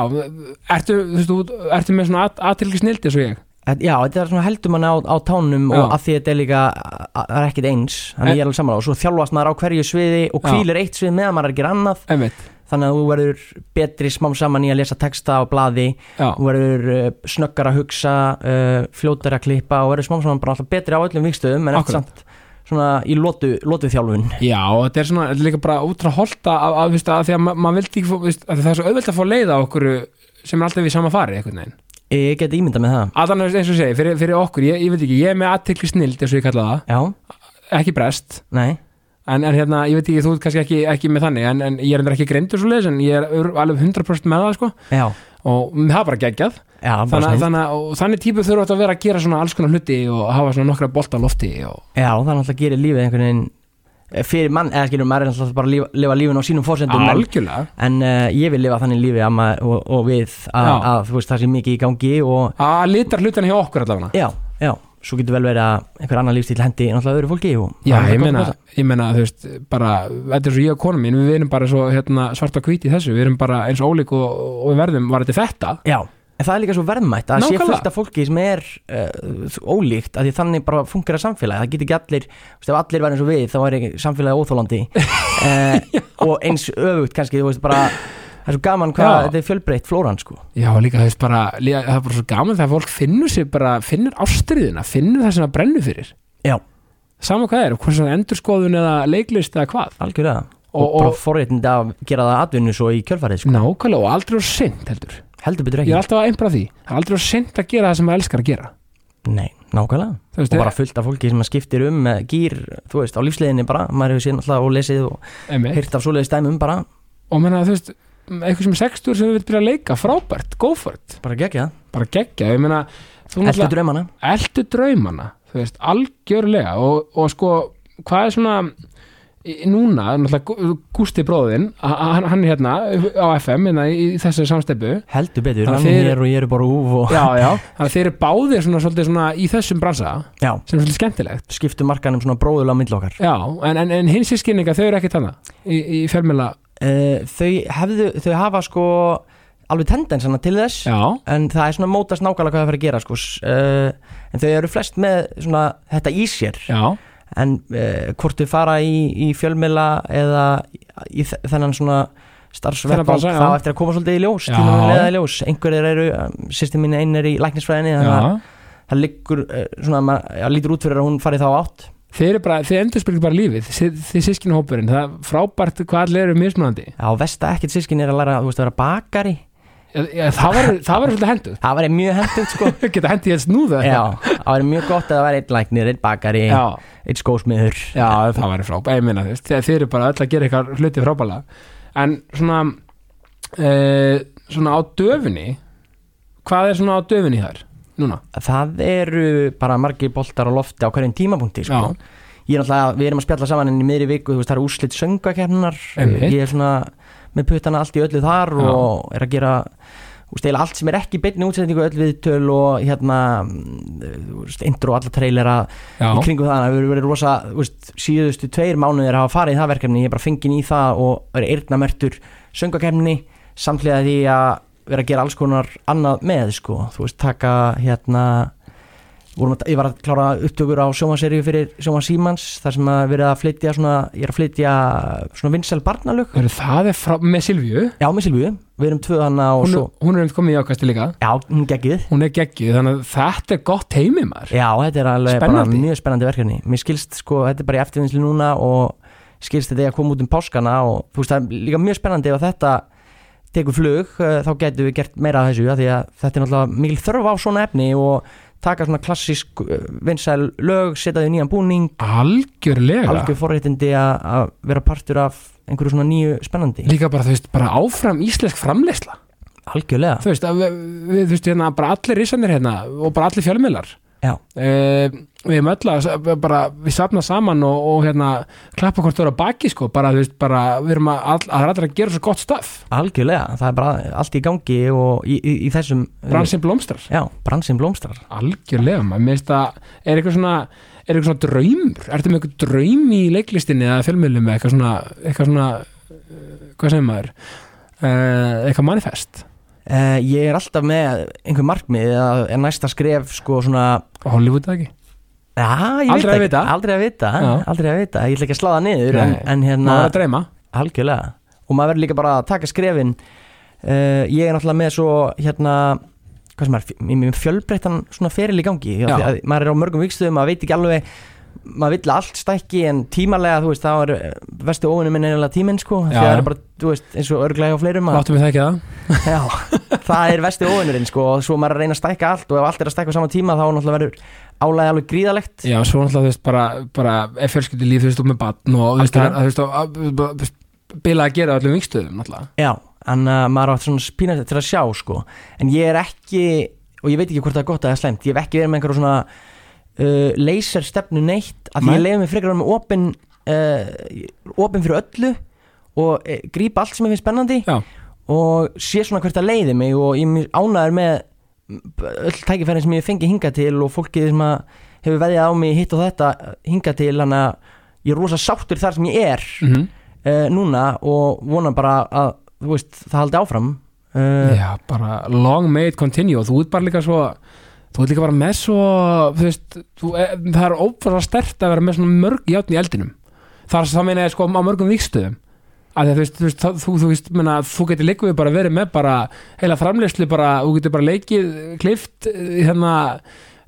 Speaker 1: ertu, þú veist, þú- ertu með svona aðtilgisnildi svo ég
Speaker 2: Þetta- já, þetta er svona heldur mann á, á tánum
Speaker 1: Já.
Speaker 2: og að því þetta er líka a- a- það er ekkit eins, þannig
Speaker 1: En-
Speaker 2: að ég er alveg saman og svo þjálfast maður á hverju sviði og
Speaker 1: Já.
Speaker 2: hvílir eitt svið meðan maður er að gera annað
Speaker 1: einmitt,
Speaker 2: þannig að þú verður betri smám saman í að lesa texta á blaði
Speaker 1: já
Speaker 2: þú verður uh, snöggar að hugsa uh, fljótar að klippa og verður smám saman bara alltaf betri á öllum vikstöðum en eftir
Speaker 1: Akkurat.
Speaker 2: samt svona í lotu, lotu þjálfun
Speaker 1: Já, og þetta er svona, þetta er líka bara útra holta að, að, veist, að því að ma- maður vildi ekki fó, veist, að það er svo auðvelt að fá leið á okkur sem er alltaf í sama fari, einhvern veginn
Speaker 2: Eh, ég get ímyndað með það
Speaker 1: Aðan eins og ég segi, fyrir, fyrir okkur, ég, ég veit ekki ég er með aðtekli snild, eins og ég kalla
Speaker 2: já,
Speaker 1: það ekki brest,
Speaker 2: nei,
Speaker 1: en, en hérna, ég veit ekki þú ert kannski ekki, ekki með þannig, en, en ég er endur ekki grindur svo leiðis, en ég er ör- alveg 100% með það, sko,
Speaker 2: já,
Speaker 1: og mm, það er bara geggjað
Speaker 2: já bara
Speaker 1: þannig,
Speaker 2: þannig,
Speaker 1: þannig, að- og þannig típu þurfa þetta að vera að gera svona alls konar hluti og hafa svona nokkra bolta á lofti og,
Speaker 2: já, það er alltaf gerir lífið einhvern veginn eh, fyrir mann, eða skilur maður er alltaf bara að lifa, lifa lífin á sínum fórsendum en,
Speaker 1: algjörlega
Speaker 2: en uh, ég vil lifa þannig lífi að maður, og, og við að,
Speaker 1: Já.
Speaker 2: að þú veist það sé mikið í gangi og
Speaker 1: að litar hlutina hjá okkur allavega
Speaker 2: Já, já, svo getur vel verið að einhver annar lífstíl hendi náttúrulega öðru fólki og
Speaker 1: Já,
Speaker 2: það er
Speaker 1: ég
Speaker 2: gott
Speaker 1: meina,
Speaker 2: að
Speaker 1: ég meina, þú veist, bara, þetta er svo ég og konum mín, við erum bara svo hérna, svart og hvít í þessu, við erum bara eins ólík og, og við verðum, var þetta þetta?
Speaker 2: blessa. Já, en það er líka svo verðmætt að sé
Speaker 1: Nákvæmlega.
Speaker 2: fullt af fólki sem er uh, ólíkt að því þannig bara funkar að samfélagi það getur ekki allir, þú veist, ef allir verður eins og við þá er ekki samfélagi óþólandi uh, og eins öfugt kannski, þú veist, bara það er svo gaman hvað
Speaker 1: Já.
Speaker 2: þetta er fjölbreytt flóran, sko
Speaker 1: Já, líka, þú veist, bara, líka, það er bara svo gaman þegar fólk finnur sér bara, finnur ástriðina, finnur það sem það brennur fyrir.
Speaker 2: Já,
Speaker 1: Sama hvað er, hvort sem það er endurskoðun eða leiklist eða hvað.
Speaker 2: algjörlega og,
Speaker 1: Og-
Speaker 2: og,
Speaker 1: og- Mm.
Speaker 2: bara forréttindi að gera það atvinnu svo í kjölfarið, sko,
Speaker 1: Nákvæmlega og aldrei á sint heldur.
Speaker 2: heldur betur
Speaker 1: Ég
Speaker 2: ekki
Speaker 1: er alltaf að einbra því, það er aldrei á sint að gera það sem maður elskar að gera.
Speaker 2: Nei, nákvæmlega
Speaker 1: Þú veist,
Speaker 2: og bara fullt af fólki sem að skiptir um með gýr, þú veist, á lífsliðinni bara maður hefur séð alltaf og lesið og
Speaker 1: eh, einmitt.
Speaker 2: heyrt af svoleiðis dæmum bara
Speaker 1: og menna, þú veist, eitthvað sem er 60 sem við vilt byrja að leika, frábært, go for it,
Speaker 2: bara gegja,
Speaker 1: bara geggja, ég meina, þú
Speaker 2: eldur draumana
Speaker 1: eldu draumana þú veist, algjörlega og, og sko, hvað er svona í- núna, náttúrulega Gú- Gústi bróðinn, a- a- hann, hann er hérna á FM, hérna í, í þessari samsteppu
Speaker 2: heldur betur,
Speaker 1: Þannig
Speaker 2: hann
Speaker 1: fyrir-
Speaker 2: er hér og ég er bara úf og
Speaker 1: já, já, þannig að þeir eru báðir svona, svolítið svona í þessum bransa
Speaker 2: já,
Speaker 1: sem er svolítið skemmtilegt
Speaker 2: skiptum markanum svona bróðulega milli okkar
Speaker 1: já, en, en, en hins sískinninga, þau eru ekkert hana í, í fjölmjöla,
Speaker 2: uh, þau, hefðu, þau hafa sko alveg tendensana til þess
Speaker 1: já
Speaker 2: en það er svona mótast nákvæmlega hvað það fer að gera sko uh, en þau eru flest með svona þetta í sér
Speaker 1: já,
Speaker 2: en uh, hvort þau fara í, í fjölmila eða í þe- þennan svona
Speaker 1: Þennan
Speaker 2: starfsvettbang
Speaker 1: bransa, já.
Speaker 2: þá eftir að koma svolítið í ljós,
Speaker 1: Já.
Speaker 2: tíma að leiða í ljós einhverjir eru, sýstir mín einn er í læknisfræðinni þannig að
Speaker 1: já
Speaker 2: það liggur uh, svona, maður, já, lítur út fyrir að hún farið þá átt
Speaker 1: Þeir eru bara, þeir endurspyrkir bara lífið, þið, þið sískinhópurinn, það er frábært hvað allir eru mismunandi.
Speaker 2: já, vest að ekkert sískin er að læra þú veist, að vera bakari
Speaker 1: Ég- ég- það var, það var svolítið henduð
Speaker 2: það væri mjög hendugt sko
Speaker 1: geta hendið ég snúða
Speaker 2: já, það væri mjög gott að það væri einn læknir, einn bakari
Speaker 1: já,
Speaker 2: einn skósmiður
Speaker 1: já það var frábæð ég meina þú veist, þegar þið eru bara öll að gera ykkar hluti frábælega en svona e, svona á döfunni hvað er svona á döfunni þar núna,
Speaker 2: það eru bara margir boltar á lofti á hverjum tímapunkti sko. ég er náttúrulega, við erum að spjalla saman enn í miðri viku þú veist, það eru úrslit söngakefnar
Speaker 1: Einmitt.
Speaker 2: ég er svona með puttana allt í öllu þar
Speaker 1: Já.
Speaker 2: og er að gera þú veist, eiginlega allt sem er ekki í beinni útsendingu öll viðtöl og hérna mm, þú veist, intro og alla trailera
Speaker 1: já,
Speaker 2: í kringum það, við erum verið rosa þú veist, síðustu tveir mánuðir að hafa farið í það verkefni ég er bara fengin í það og verið eyrnamertur söngakefni samhliða því að vera að gera alls konar annað með sko, þú veist, taka hérna vorum að, ég var að klára upptökur á sjómaseríu fyrir sjóma Símans þar sem að verið að flytja svona ég er að flytja svona vinsæl barnalög
Speaker 1: Heyrðu, það er frá, með Silvíu
Speaker 2: já, með Silvíu, við erum tvö hana og
Speaker 1: hún,
Speaker 2: svo
Speaker 1: hún er einmitt komið í ákvæmstu líka
Speaker 2: já, hún geggið
Speaker 1: hún er geggið, þannig að þetta er gott heimi maður
Speaker 2: Já, þetta er alveg
Speaker 1: Spennandi.
Speaker 2: bara mjög spennandi verkefni Mér skilst, sko, þetta er bara í eftirvinnslu núna og skilst þetta er að koma út um páskana og þú veist, það er líka mjög spennandi ef að þetta tekur flug, eh, þá getum við gert meira af þessu, af því að þetta er náttúrulega mikil þörf á svona efni og taka svona klassísk eh, vinsæl lög, setja þau í nýjan búning
Speaker 1: algjörlega
Speaker 2: algjör forréttindi að að vera partur af einhverju svona nýju spennandi
Speaker 1: líka bara, þú veist, bara áfram íslensk framleysla
Speaker 2: Algjörlega,
Speaker 1: þú veist, að við, við, þú veist, hérna, bara allir risanir hérna og bara allir fjölmiðlar
Speaker 2: já,
Speaker 1: uh, við erum öll að bara, við safna saman og, og hérna, klappa hvort þú eru að baki sko, bara, þú veist, bara, við erum að, all, að allir að gera svo gott stöf,
Speaker 2: algjörlega það er bara allt í gangi og í, í, í þessum
Speaker 1: bransin blómstrar
Speaker 2: Já, bransin blómstrar
Speaker 1: algjörlega, maður minnst að er eitthvað svona, er eitthvað svona draumur ertu með eitthvað draum í leiklistinni eða fjölmiðlum eða eitthvað svona, eitthvað svona eh, hvað segir maður uh, eitthvað manifest
Speaker 2: Uh, ég er alltaf með einhver markmið að er næsta skref sko svona
Speaker 1: Hollywood eða ekki,
Speaker 2: Já, ég
Speaker 1: Aldrei að
Speaker 2: veit
Speaker 1: vita.
Speaker 2: ekki, aldrei að vita
Speaker 1: Já.
Speaker 2: aldrei að vita, ég ætla ekki að slá það niður en,
Speaker 1: Nei.
Speaker 2: en hérna,
Speaker 1: maður er að dreyma
Speaker 2: algjörlega og maður verður líka bara að taka skrefin uh, ég er náttúrulega með svo hérna, hvað sem er, ég með fjölbreyttan svona feril í gangi,
Speaker 1: Já.
Speaker 2: Af því að maður er á mörgum vikstöðum, maður veit ekki alveg maður vill að allt stækki en tímalega þú veist, þá er eh, versti óunum minn eiginlega tíminn sko, því
Speaker 1: Já,
Speaker 2: að það
Speaker 1: já.
Speaker 2: er bara, þú veist, eins og örglega hjá fleirum að
Speaker 1: láttu mig það ekki það
Speaker 2: Já, það er vesti óvinnurinn sko og svo maður er að reyna að stækka allt og ef allt er að stækka á sama tíma þá náttúrulega verður álæði alveg gríðalegt
Speaker 1: Já, svo náttúrulega þú veist bara, bara ef fjölskyldi líf þú veist og með batn og þú veist
Speaker 2: Algjörlega.
Speaker 1: að þú veist að- að- að- að- að- bila að gera á öllum vingstöðum náttúrulega.
Speaker 2: Já, en uh, maður átt svona spínast til að sjá sko en ég er ekki, og ég veit ekki hvort það er gott eða slæmt, ég hef ekki verið með einhverju svona uh, laserstefnu neitt að
Speaker 1: Nei.
Speaker 2: ég leiði mig frekar að vera með opin uh, opin fyrir öllu og uh, grípa allt sem ég finnst spennandi
Speaker 1: Já,
Speaker 2: og sé svona hvert að leiði mig og ég er mjög ánæður með öll tækifærin sem ég fengi hinga til og fólkið sem að hefur veðjað á mig hitt og þetta hinga til hann að ég er rosa sáttur þar sem ég er
Speaker 1: mm
Speaker 2: uh, núna og vona bara að þú veist, það haldi áfram uh,
Speaker 1: Já bara long may it continue og þú ert bara líka svo þú ert líka bara með svo þú veist, þú, e, það er ófæra stert að vera með svona mörg játn í eldinum það er það meina ég sko á mörgum vikstöðum að þú veist, þú veist, það- þú, þú, veist meina, þú getur líka við bara verið með bara heila framleyslu bara, þú getur bara leikið klift, hérna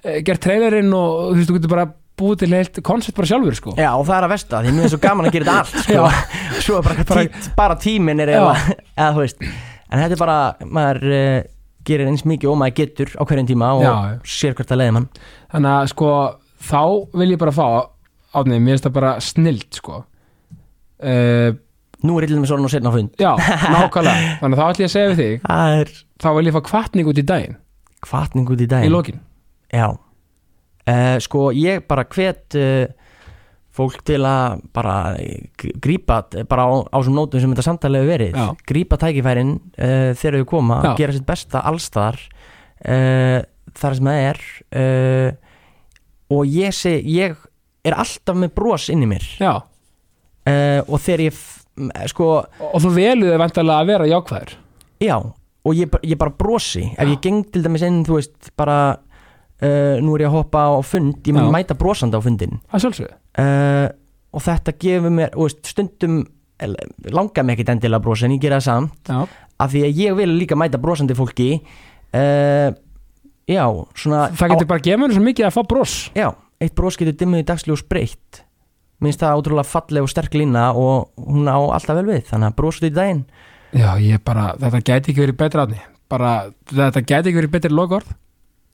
Speaker 1: eh, gert trailerinn og þú veist, þú getur bara búið til heilt koncept bara sjálfur sko
Speaker 2: Já og það er að versta því mér er svo gaman að gera þetta allt sko. svo er bara,
Speaker 1: Bara-
Speaker 2: bara, tí, bara tímin er eða, eða þú veist en þetta er bara, maður uh, gerir eins mikið og maður getur á hverjum tíma og
Speaker 1: Já, já.
Speaker 2: sér hvert að leiði mann
Speaker 1: þannig að sko þá vil ég bara fá átnið, mér finnst það bara snilt sko uh,
Speaker 2: Nú er illum svona og setna á fund
Speaker 1: já, nákvæmlega þannig að þá ætlum ég að segja við þig
Speaker 2: Það er
Speaker 1: þá vil ég fá kvartning út í daginn,
Speaker 2: kvartning út í
Speaker 1: í
Speaker 2: daginn
Speaker 1: lokin
Speaker 2: Já uh, Sko ég bara hvet uh, fólk til að bara eh, gr- grípa eh, bara á, á þessum nótum sem þetta samtalið hefur verið
Speaker 1: Já.
Speaker 2: grípa tækifærin uh, þegar þau koma
Speaker 1: Já.
Speaker 2: gera sitt besta allstaðar uh, þar sem það er uh, og ég sé ég er alltaf með bros inn í mér
Speaker 1: já,
Speaker 2: uh, og þegar ég f- m- eh, sko
Speaker 1: og, og þú veluðu vantarlega að vera jákvæður
Speaker 2: Já, og ég, ba- ég bara brosi Ef
Speaker 1: Já.
Speaker 2: ég geng til dæmis inn, þú veist, bara uh, Nú er ég að hoppa á fund Ég mun
Speaker 1: Já.
Speaker 2: mæta brosandi á fundin
Speaker 1: það er sjálfsögðu,
Speaker 2: uh, Og þetta gefur mér, þú veist, stundum el- Langar mig ekkit endilega að brosa En ég gera það samt
Speaker 1: já,
Speaker 2: Af því að ég vil líka mæta brosandi fólki uh, Já, svona
Speaker 1: það getur bara gefið mér svo mikið að fá bros
Speaker 2: á, Já, eitt bros getur dimmið í dagsljós breytt Minnst það ótrúlega falleg og sterk lína Og hún á alltaf vel við Þannig að brosa út í daginn
Speaker 1: já, ég bara, þetta gæti ekki verið betra átni bara, þetta geti ekki verið betur lokorð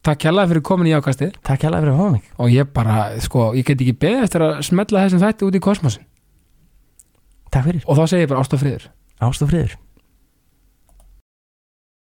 Speaker 1: takk hella fyrir komin í ákastið
Speaker 2: Takk hérlega fyrir að fá mig
Speaker 1: og ég bara, sko, ég get ekki beðið eftir að smetla þessum þætti út í kosmosin
Speaker 2: Takk fyrir,
Speaker 1: og þá segi ég bara ást og friður
Speaker 2: ást og friður